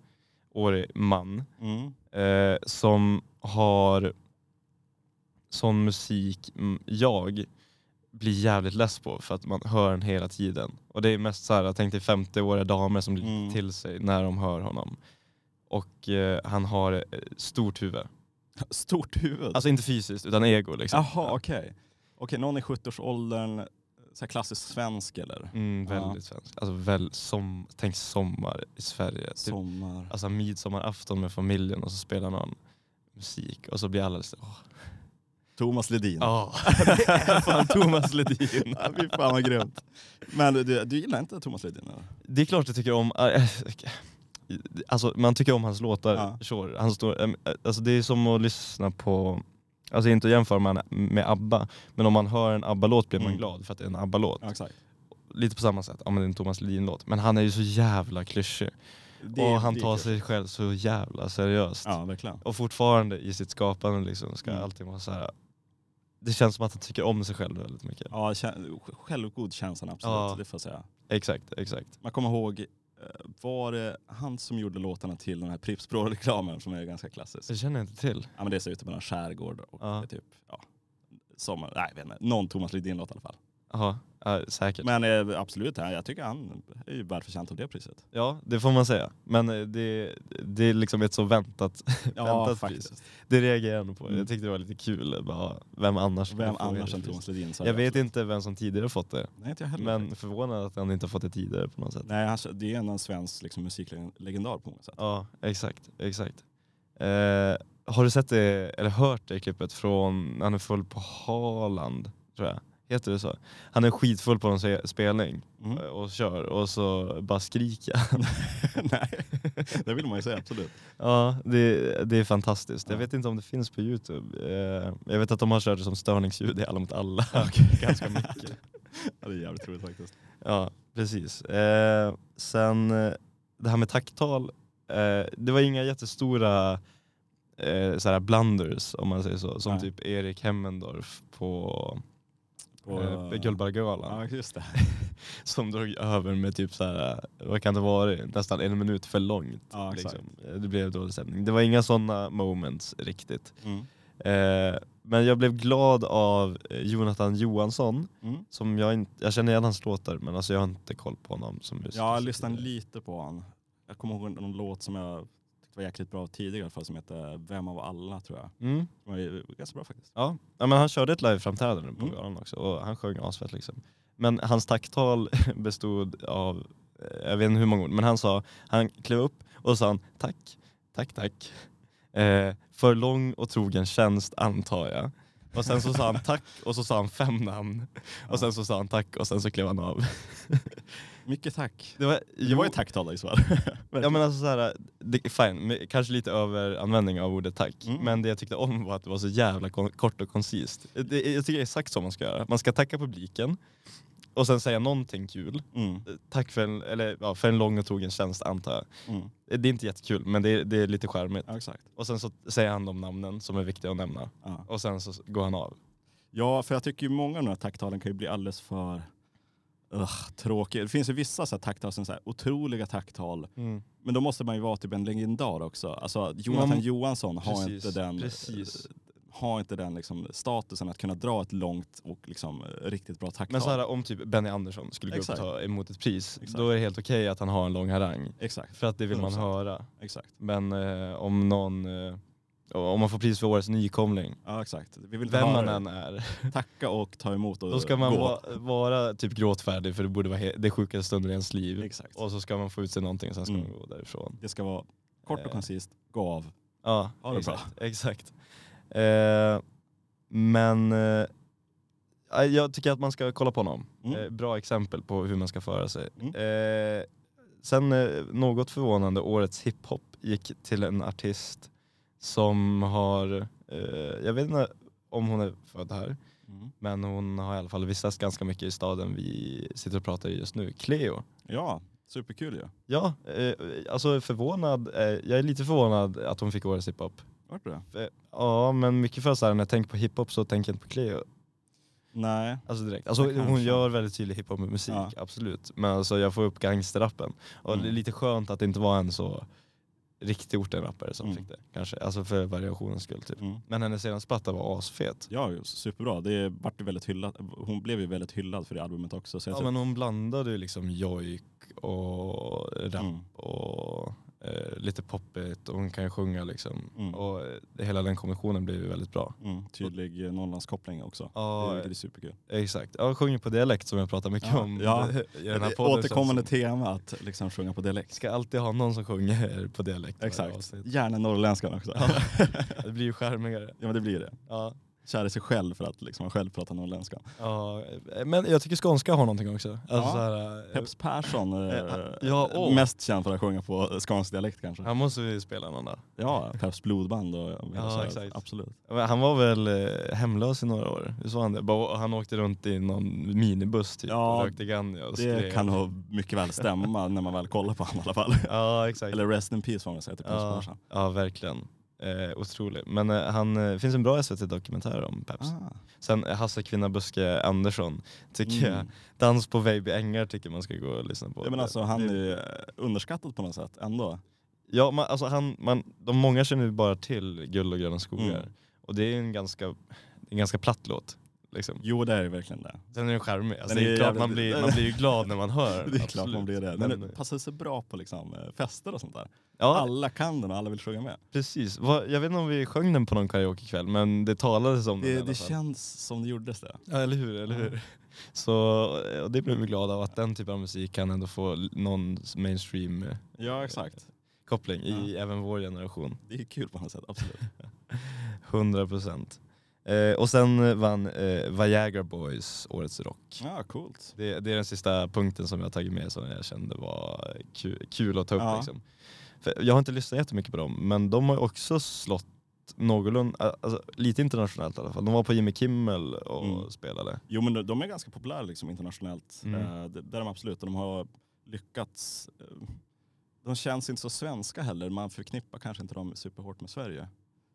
[SPEAKER 2] årig man
[SPEAKER 1] Mm.
[SPEAKER 2] eh, som har sån musik mm, jag blir jävligt less på för att man hör den hela tiden. Och det är mest så här, jag tänkte 50-åriga damer som blir lite
[SPEAKER 1] Mm.
[SPEAKER 2] till sig när de hör honom. Och eh, han har eh, stort huvud.
[SPEAKER 1] Stort huvud.
[SPEAKER 2] Alltså inte fysiskt utan ego liksom.
[SPEAKER 1] Jaha okej. Okej någon i 70-årsåldern, så här klassisk svensk eller?
[SPEAKER 2] Mm,
[SPEAKER 1] Ja.
[SPEAKER 2] väldigt svensk. Alltså väl, som, tänk sommar i Sverige. Typ,
[SPEAKER 1] Sommar.
[SPEAKER 2] alltså midsommarafton med familjen och så spelar någon musik och så blir alla lite åh.
[SPEAKER 1] Thomas Ledin.
[SPEAKER 2] Ja, det är fan Thomas Ledin.
[SPEAKER 1] Ja, Fy fan vad grymt. Men du, du gillar inte Thomas Ledin? Eller?
[SPEAKER 2] Det är klart jag tycker om... äh, Alltså man tycker om hans låtar,
[SPEAKER 1] Ja.
[SPEAKER 2] sure. Han står, äm, äh, alltså, det är som att lyssna på... Alltså inte att jämföra man med ABBA, men om man hör en ABBA-låt blir man
[SPEAKER 1] Mm.
[SPEAKER 2] glad för att det är en ABBA-låt.
[SPEAKER 1] Ja, exakt.
[SPEAKER 2] Lite på samma sätt, ja men det är en Thomas Ledin-låt. Men han är ju så jävla klyschig.
[SPEAKER 1] Det-
[SPEAKER 2] och han
[SPEAKER 1] det är
[SPEAKER 2] tar
[SPEAKER 1] kul.
[SPEAKER 2] sig själv så jävla seriöst.
[SPEAKER 1] Ja verkligen.
[SPEAKER 2] Och fortfarande i sitt skapande liksom ska
[SPEAKER 1] Mm.
[SPEAKER 2] allting vara så här. Det känns som att han tycker om sig själv väldigt mycket.
[SPEAKER 1] Ja, kä- självgod känslan absolut,
[SPEAKER 2] Ja.
[SPEAKER 1] det får jag säga.
[SPEAKER 2] Exakt, exakt.
[SPEAKER 1] Man kommer ihåg, eh, var det han som gjorde låtarna till den här Pripps reklamen som är ganska klassisk?
[SPEAKER 2] Det känner jag inte till.
[SPEAKER 1] Ja men det är så ute mellan skärgård och
[SPEAKER 2] Ja.
[SPEAKER 1] eh, typ, ja. Sommar, nej jag vet inte, någon Thomas Ledin-låt i alla fall.
[SPEAKER 2] Jaha, ja, säkert.
[SPEAKER 1] Men eh, absolut, ja, jag tycker han är ju väl förtjänt av det priset.
[SPEAKER 2] Ja, det får man säga. Men eh, det, det är liksom ett så väntat, väntat pris. Det reagerar jag ändå på.
[SPEAKER 1] Mm.
[SPEAKER 2] Jag tyckte det var lite kul. eh, Bara, vem annars skulle
[SPEAKER 1] Vem
[SPEAKER 2] få
[SPEAKER 1] annars än
[SPEAKER 2] hederspris?
[SPEAKER 1] Thomas alltså. Ledin? så är
[SPEAKER 2] Jag
[SPEAKER 1] det
[SPEAKER 2] vet
[SPEAKER 1] absolut.
[SPEAKER 2] inte vem som tidigare fått det.
[SPEAKER 1] Nej inte jag heller.
[SPEAKER 2] Men förvånad att han inte har fått det tidigare på något sätt.
[SPEAKER 1] Nej, han, det är en svensk liksom, musiklegendar på många sätt.
[SPEAKER 2] Ja, exakt. exakt. Eh, har du sett det, eller hört det klippet från när han är full på Haaland, tror jag? Heter det så? Han är skitfull på någon se- spelning
[SPEAKER 1] Mm.
[SPEAKER 2] eh, och kör och så bara skriker han.
[SPEAKER 1] Eh, nej, det vill man ju säga absolut.
[SPEAKER 2] Ja, det, det är fantastiskt. Jag
[SPEAKER 1] Ja.
[SPEAKER 2] vet inte om det finns på Youtube. Eh, jag vet att de har kört det som störningsljud i Alla mot alla. Ganska mycket.
[SPEAKER 1] Ja, det är jävligt roligt faktiskt.
[SPEAKER 2] Ja, precis. Eh, sen eh, det här med tacktal. Eh, det var inga jättestora eh, såhär blunders om man säger så. Som
[SPEAKER 1] Nej.
[SPEAKER 2] typ Erik Hemmendorf på
[SPEAKER 1] Och-
[SPEAKER 2] eh, Guldbaggegalan.
[SPEAKER 1] Ja, just det.
[SPEAKER 2] Som drog över med typ såhär, vad kan det vara, nästan en minut för långt.
[SPEAKER 1] Ja, exakt.
[SPEAKER 2] liksom. Eh, Det blev dålig stämning. Det var inga sådana moments riktigt.
[SPEAKER 1] Mm.
[SPEAKER 2] Eh, men jag blev glad av eh, Jonathan Johansson,
[SPEAKER 1] Mm.
[SPEAKER 2] som jag, inte, jag känner igen hans låtar men alltså jag har inte koll på honom som musiker.
[SPEAKER 1] Jag har lyssnat lite på han. Jag kommer ihåg någon låt som jag tyckte var jäkligt bra tidigare i alla fall som heter Vem av alla tror jag.
[SPEAKER 2] Mm.
[SPEAKER 1] Den var ju ganska bra faktiskt.
[SPEAKER 2] Ja. ja, men han körde ett liveframträdande på
[SPEAKER 1] Mm.
[SPEAKER 2] galan också och han sjöng asfett liksom. Men hans tacktal bestod av, eh, jag vet inte hur många ord, men han sa, han klev upp och så sa han tack, tack, tack. Eh, för lång och trogen tjänst antar jag. Och sen så sa han tack och så sa han fem namn. Och sen så sa han tack och sen så klev han av.
[SPEAKER 1] Mycket tack.
[SPEAKER 2] Det var,
[SPEAKER 1] Det var ju tacktal i svar.
[SPEAKER 2] Ja men alltså såhär, det, fine, men kanske lite överanvändning av ordet tack.
[SPEAKER 1] Mm.
[SPEAKER 2] Men det jag tyckte om var att det var så jävla kon- kort och koncist. Det, jag tycker det är exakt så man ska göra. Man ska tacka publiken och sen säga någonting kul.
[SPEAKER 1] Mm,
[SPEAKER 2] Tack för en, eller, ja, för en lång och trogen tjänst antar jag.
[SPEAKER 1] mm.
[SPEAKER 2] Det är inte jättekul men det är, det är lite charmigt.
[SPEAKER 1] Ja, exakt.
[SPEAKER 2] Och sen så säger han de namnen som är viktiga att nämna.
[SPEAKER 1] Ja.
[SPEAKER 2] Och sen så går han av.
[SPEAKER 1] Ja, för jag tycker ju många av de här tacktalen kan ju bli alldeles för ugh, tråkiga. Det finns ju vissa så här tacktal som så här otroliga tacktal, men då måste man ju vara typ en legendar också. Alltså Jonathan
[SPEAKER 2] Man-
[SPEAKER 1] Johansson har
[SPEAKER 2] Precis,
[SPEAKER 1] inte den, eh,
[SPEAKER 2] precis.
[SPEAKER 1] Har inte den liksom, statusen att kunna dra ett långt och liksom, eh, riktigt bra tacktal.
[SPEAKER 2] Men så här, om typ Benny Andersson skulle gå
[SPEAKER 1] Exakt.
[SPEAKER 2] upp och ta emot ett pris,
[SPEAKER 1] Exakt.
[SPEAKER 2] då är det helt okej att han har en lång harang.
[SPEAKER 1] Exakt,
[SPEAKER 2] För att det vill man
[SPEAKER 1] 100%.
[SPEAKER 2] höra.
[SPEAKER 1] exakt.
[SPEAKER 2] Men eh, om någon, eh, om man får pris för årets nykomling,
[SPEAKER 1] Ja, exakt. Vi vill inte
[SPEAKER 2] vem
[SPEAKER 1] höra
[SPEAKER 2] man
[SPEAKER 1] det.
[SPEAKER 2] än är,
[SPEAKER 1] tacka och ta emot och
[SPEAKER 2] då ska man
[SPEAKER 1] gå.
[SPEAKER 2] va, vara typ gråtfärdig för det borde vara he- det sjukaste stunden i ens liv.
[SPEAKER 1] Exakt.
[SPEAKER 2] Och så ska man få ut sig någonting och sen ska
[SPEAKER 1] Mm.
[SPEAKER 2] man gå därifrån.
[SPEAKER 1] Det ska vara kort och
[SPEAKER 2] Eh.
[SPEAKER 1] koncist, gå av.
[SPEAKER 2] Ja,
[SPEAKER 1] Ha det bra.
[SPEAKER 2] exakt. exakt. Eh, men eh, ja, jag tycker att man ska kolla på honom.
[SPEAKER 1] Mm.
[SPEAKER 2] Eh, bra exempel på hur man ska föra sig.
[SPEAKER 1] Mm.
[SPEAKER 2] Eh, sen eh, något förvånande, årets hiphop gick till en artist som har, eh, jag vet inte om hon är född här,
[SPEAKER 1] Mm.
[SPEAKER 2] men hon har i alla fall vistats ganska mycket i staden vi sitter och pratar i just nu, Cleo.
[SPEAKER 1] Ja, superkul ju.
[SPEAKER 2] Ja, eh, alltså förvånad, eh, jag är lite förvånad att hon fick årets hiphop.
[SPEAKER 1] Vart det?
[SPEAKER 2] Eh, Ja, men mycket för så här, när jag tänker på hiphop så tänker jag inte på Cleo.
[SPEAKER 1] Nej,
[SPEAKER 2] Alltså direkt. Alltså, hon
[SPEAKER 1] Kanske.
[SPEAKER 2] gör väldigt tydlig hiphop med musik,
[SPEAKER 1] Ja.
[SPEAKER 2] absolut. Men alltså, jag får upp gangsterrappen. Och
[SPEAKER 1] Mm.
[SPEAKER 2] det är lite skönt att det inte var en så riktig ortenrappare som
[SPEAKER 1] Mm.
[SPEAKER 2] fick det. Kanske. Alltså för variationens skull typ.
[SPEAKER 1] mm.
[SPEAKER 2] Men hennes senaste platta var asfet.
[SPEAKER 1] Ja, superbra. Det vart ju väldigt hyllat. Hon blev ju väldigt hyllad för det albumet också. Så jag
[SPEAKER 2] Ja
[SPEAKER 1] tror-
[SPEAKER 2] men hon blandade ju liksom jojk och rap
[SPEAKER 1] mm.
[SPEAKER 2] och eh, lite poppigt och hon kan ju sjunga liksom.
[SPEAKER 1] Mm.
[SPEAKER 2] Och eh, hela den kombinationen blev ju väldigt bra.
[SPEAKER 1] Mm. Tydlig eh, Norrlandskoppling också.
[SPEAKER 2] Ja,
[SPEAKER 1] Vilket är superkul.
[SPEAKER 2] exakt. Ja, sjunger på dialekt som jag pratar mycket
[SPEAKER 1] Ja.
[SPEAKER 2] om
[SPEAKER 1] Ja.
[SPEAKER 2] i den här
[SPEAKER 1] Det
[SPEAKER 2] podden.
[SPEAKER 1] Återkommande tema att liksom sjunga på dialekt.
[SPEAKER 2] Ska alltid ha någon som sjunger på dialekt. varje
[SPEAKER 1] Exakt.
[SPEAKER 2] avsnitt.
[SPEAKER 1] Gärna norrländskan också.
[SPEAKER 2] Ja.
[SPEAKER 1] Ja.
[SPEAKER 2] Det blir ju charmigare.
[SPEAKER 1] men det blir det.
[SPEAKER 2] Ja.
[SPEAKER 1] Kär i sig själv för att liksom, man själv pratar norrländska.
[SPEAKER 2] Ja. Men jag tycker skånska har någonting också. Alltså
[SPEAKER 1] Ja.
[SPEAKER 2] så här, eh,
[SPEAKER 1] Peps Persson, eh,
[SPEAKER 2] ja, åh.
[SPEAKER 1] mest känd för att sjunga på eh, skånsk dialekt kanske.
[SPEAKER 2] han måste vi spela någon dag.
[SPEAKER 1] Ja, Peps blodband och hela
[SPEAKER 2] Ja,
[SPEAKER 1] så här.
[SPEAKER 2] exakt.
[SPEAKER 1] Absolut.
[SPEAKER 2] Men Han var väl eh, hemlös i några år? Visst var han det? Bara- Han åkte runt i någon minibuss typ
[SPEAKER 1] Ja,
[SPEAKER 2] och rökte ganja och
[SPEAKER 1] Det
[SPEAKER 2] skrek.
[SPEAKER 1] kan nog mycket väl stämma när man väl kollar på honom i alla fall.
[SPEAKER 2] Ja exakt.
[SPEAKER 1] Eller Rest in Peace får man säga till Peps
[SPEAKER 2] ja,
[SPEAKER 1] Persson.
[SPEAKER 2] ja verkligen. Eh, otrolig. Men eh, han eh, finns en bra SVT-dokumentär om Peps.
[SPEAKER 1] Ah.
[SPEAKER 2] Sen eh, Hasse Kvinna Buske Andersson tycker jag.
[SPEAKER 1] Mm.
[SPEAKER 2] Dans på Baby Ängar tycker man ska gå och lyssna på.
[SPEAKER 1] Ja, men alltså, han är ju underskattad på något sätt ändå.
[SPEAKER 2] Ja, man, alltså han, man, de många känner ju bara till Guld och gröna skogar.
[SPEAKER 1] Mm.
[SPEAKER 2] Och det är en ganska, en ganska platt låt. Liksom.
[SPEAKER 1] Jo det är ju verkligen det.
[SPEAKER 2] Sen är den charmig. Alltså,
[SPEAKER 1] Den
[SPEAKER 2] det är
[SPEAKER 1] är
[SPEAKER 2] klart,
[SPEAKER 1] jävligt-
[SPEAKER 2] man, blir, man blir ju glad när man hör
[SPEAKER 1] Det är klart
[SPEAKER 2] absolut.
[SPEAKER 1] man blir det.
[SPEAKER 2] Men,
[SPEAKER 1] Men det passar sig bra på liksom, eh, fester och sånt där.
[SPEAKER 2] ja,
[SPEAKER 1] Alla kan den och alla vill sjunga med.
[SPEAKER 2] precis. Vad- Jag vet inte om vi sjöng den på någon karaokekväll, men det talades om den i
[SPEAKER 1] Det,
[SPEAKER 2] alla
[SPEAKER 1] det
[SPEAKER 2] fall.
[SPEAKER 1] känns som det gjordes det.
[SPEAKER 2] Ja, eller hur, eller hur. Så och det blev vi glada av att den typen av musik kan ändå få l- någon eh, mainstream-koppling
[SPEAKER 1] Ja exakt.
[SPEAKER 2] i även vår generation.
[SPEAKER 1] Det är kul på något sätt, absolut.
[SPEAKER 2] 100 procent. Eh, och sen vann eh, Viagra Boys Årets Rock.
[SPEAKER 1] Ja coolt.
[SPEAKER 2] Det, det är den sista punkten som jag har tagit med som jag kände var kul, kul att ta upp.
[SPEAKER 1] Ja.
[SPEAKER 2] Liksom. För jag har inte lyssnat jättemycket på dem, men de har ju också slått någorlunda, alltså, lite internationellt i alla fall. De var på Jimmy Kimmel och
[SPEAKER 1] Mm.
[SPEAKER 2] spelade.
[SPEAKER 1] Jo men de- de är ganska populära liksom, internationellt.
[SPEAKER 2] Mm.
[SPEAKER 1] Eh, det, det är de absolut. Och de har lyckats. eh, de känns inte så svenska heller. Man förknippar kanske inte dem superhårt med Sverige.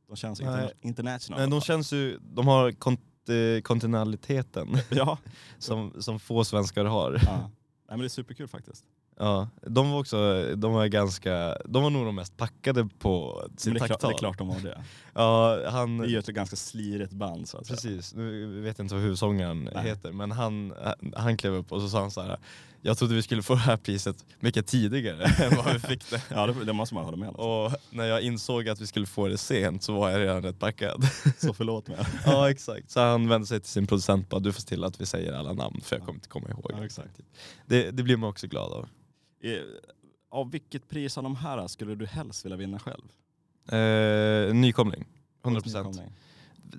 [SPEAKER 1] De känns
[SPEAKER 2] Nej.
[SPEAKER 1] interna- international.
[SPEAKER 2] Men de känns ju, de har kont, eh, kontinentaliteten
[SPEAKER 1] Ja.
[SPEAKER 2] som, som få svenskar har.
[SPEAKER 1] ja. Nej, men det är superkul faktiskt.
[SPEAKER 2] Ja, de var också, de var ganska, de var nog de mest packade på
[SPEAKER 1] Men
[SPEAKER 2] sin
[SPEAKER 1] det, är klart, det
[SPEAKER 2] tacktal.
[SPEAKER 1] är klart de har det.
[SPEAKER 2] Ja, han...
[SPEAKER 1] Det är ju ett ganska slirigt band så att säga.
[SPEAKER 2] Precis, nu vet jag inte vad huvudsångaren
[SPEAKER 1] Nej.
[SPEAKER 2] heter men han, han- han klev upp och så sa han så här. Jag trodde vi skulle få det här priset mycket tidigare än vad vi fick det.
[SPEAKER 1] Ja, det, det måste man hålla med om.
[SPEAKER 2] Och när jag insåg att vi skulle få det sent så var jag redan rätt packad.
[SPEAKER 1] Så förlåt mig.
[SPEAKER 2] ja exakt. Så han vände sig till sin producent och bara du får se till att vi säger alla namn för jag kommer inte komma ihåg.
[SPEAKER 1] Ja, exakt.
[SPEAKER 2] Det, det blir man också glad av.
[SPEAKER 1] Eh, Av vilket pris av de här skulle du helst vilja vinna själv?
[SPEAKER 2] Eh, nykomling. 100
[SPEAKER 1] Årets
[SPEAKER 2] procent.
[SPEAKER 1] nykomling.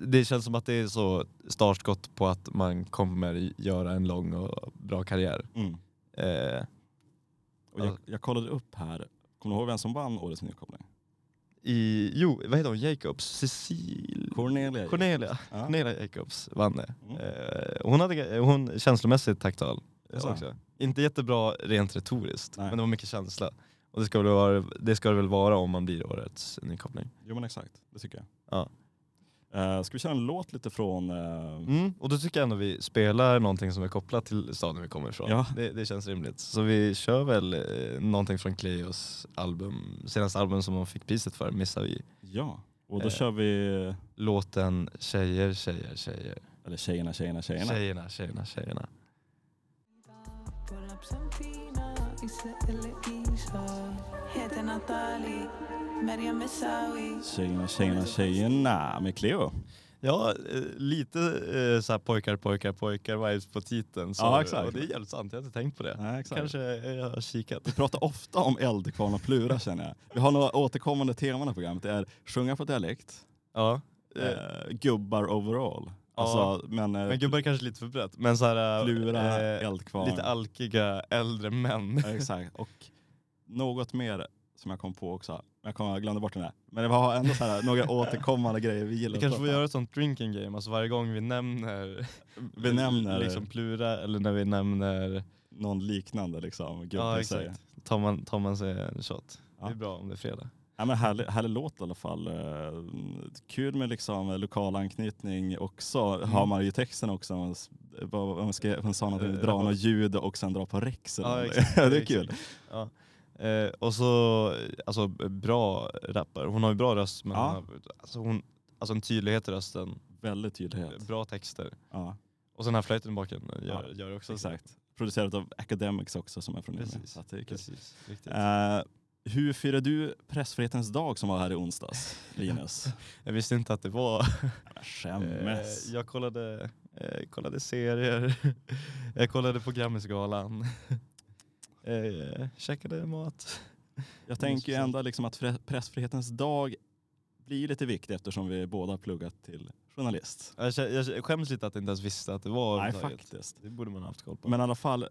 [SPEAKER 2] det känns som att det är så startskott på att man kommer göra en lång och bra karriär.
[SPEAKER 1] Mm.
[SPEAKER 2] Eh,
[SPEAKER 1] Och jag, jag kollade upp här, kommer du ihåg vem som vann årets nykomling?
[SPEAKER 2] i, jo, vad heter hon? Jacobs? Cecil?
[SPEAKER 1] Cornelia.
[SPEAKER 2] Cornelia.
[SPEAKER 1] Ja.
[SPEAKER 2] Cornelia Jacobs vann det.
[SPEAKER 1] Mm.
[SPEAKER 2] Eh, hon hade hon, känslomässigt taktal eh,
[SPEAKER 1] Jaså?
[SPEAKER 2] också. Inte jättebra rent retoriskt,
[SPEAKER 1] Nej.
[SPEAKER 2] men det var mycket känsla. Och det ska, väl vara, det ska det väl vara om man blir årets nykoppling.
[SPEAKER 1] Jo men exakt, det tycker jag.
[SPEAKER 2] Ja.
[SPEAKER 1] Eh, ska vi köra en låt lite från... eh,
[SPEAKER 2] Mm. Och då tycker jag ändå vi spelar någonting som är kopplat till staden vi kommer ifrån.
[SPEAKER 1] Ja.
[SPEAKER 2] Det, det känns rimligt. Så vi kör väl eh, någonting från Cleos album, senaste album som hon fick priset för, missar vi.
[SPEAKER 1] Ja, och då
[SPEAKER 2] Eh.
[SPEAKER 1] kör vi...
[SPEAKER 2] Låten Tjejer, tjejer, tjejer.
[SPEAKER 1] Eller tjejerna, tjejerna, tjejerna.
[SPEAKER 2] Tjejerna, tjejerna, tjejerna.
[SPEAKER 3] Pull up some Tina, Isa eller Isa Heter Nathalie, Meryam Messawi
[SPEAKER 1] Tjejerna, tjejerna, tjejerna med Cleo.
[SPEAKER 2] Ja, eh, lite eh, så här pojkar, pojkar, pojkar vibes på titeln. Så,
[SPEAKER 1] Ja, exakt.
[SPEAKER 2] Och det är jävligt sant, jag har inte tänkt på det.
[SPEAKER 1] Nej, exakt.
[SPEAKER 2] Kanske eh, jag har kikat.
[SPEAKER 1] Vi pratar ofta om eldkvarn och plura känner jag. Vi har några återkommande teman i programmet. Det är sjunga på dialekt,
[SPEAKER 2] Ja. Eh,
[SPEAKER 1] eh, gubbar overall.
[SPEAKER 2] Ja.
[SPEAKER 1] Alltså, men, eh,
[SPEAKER 2] men gubbar kanske lite för brett. Men så här, eh,
[SPEAKER 1] plura,
[SPEAKER 2] eh,
[SPEAKER 1] eldkvarn.
[SPEAKER 2] lite alkiga äldre män.
[SPEAKER 1] Ja, Exakt. Och något mer som jag kom på också. Men Jag, kom, jag glömde bort den där. Men det var ändå så här, några återkommande grejer vi gillar.
[SPEAKER 2] Vi
[SPEAKER 1] att
[SPEAKER 2] kanske får
[SPEAKER 1] prata om.
[SPEAKER 2] göra ett sånt drinking game, alltså varje gång vi nämner,
[SPEAKER 1] Benämner
[SPEAKER 2] liksom plura eller när vi nämner,
[SPEAKER 1] någon liknande liksom. Gubbe
[SPEAKER 2] ja
[SPEAKER 1] säger.
[SPEAKER 2] exakt, tar man, tar man sig en shot.
[SPEAKER 1] Ja.
[SPEAKER 2] Det är bra om det är fredag.
[SPEAKER 1] Ja, men härlig, härlig låt i alla fall. Eh, Kul med liksom eh, lokal anknytning också.
[SPEAKER 2] Mm.
[SPEAKER 1] Har man ju texten också. Man, s- vad- vad man ska, hon sa någonting,
[SPEAKER 2] Eh,
[SPEAKER 1] dra
[SPEAKER 2] rapport.
[SPEAKER 1] något ljud och sen dra på rex. eller
[SPEAKER 2] Ja,
[SPEAKER 1] någonting.
[SPEAKER 2] exakt,
[SPEAKER 1] det är
[SPEAKER 2] exakt.
[SPEAKER 1] kul.
[SPEAKER 2] Ja. Eh, och så, alltså bra rappare, hon har ju bra röst men
[SPEAKER 1] Ja.
[SPEAKER 2] hon har, alltså, hon, alltså en tydlighet i rösten,
[SPEAKER 1] Väldigt tydlighet.
[SPEAKER 2] bra texter.
[SPEAKER 1] Ja,
[SPEAKER 2] Och sen den här flöjten i baken gör,
[SPEAKER 1] Ja,
[SPEAKER 2] gör det också.
[SPEAKER 1] exakt. Producerat av Academics också som är från Umeå.
[SPEAKER 2] Precis.
[SPEAKER 1] Så att det är kul.
[SPEAKER 2] Precis, riktigt.
[SPEAKER 1] Eh, hur firar du pressfrihetens dag som var här i onsdags, Linus?
[SPEAKER 2] Jag visste inte att det var Eh,
[SPEAKER 1] Skämmes.
[SPEAKER 2] jag kollade, eh, kollade serier, jag kollade på Grammisgalan, eh, käkade mat.
[SPEAKER 1] Jag tänker ju ändå liksom att fre- pressfrihetens dag blir lite viktig eftersom vi båda pluggat till journalist.
[SPEAKER 2] Jag, kä- jag skäms lite att jag inte ens visste att det var
[SPEAKER 1] Nej,
[SPEAKER 2] överhuvudtaget.
[SPEAKER 1] faktiskt.
[SPEAKER 2] Det borde man ha haft koll på.
[SPEAKER 1] Men i alla fall,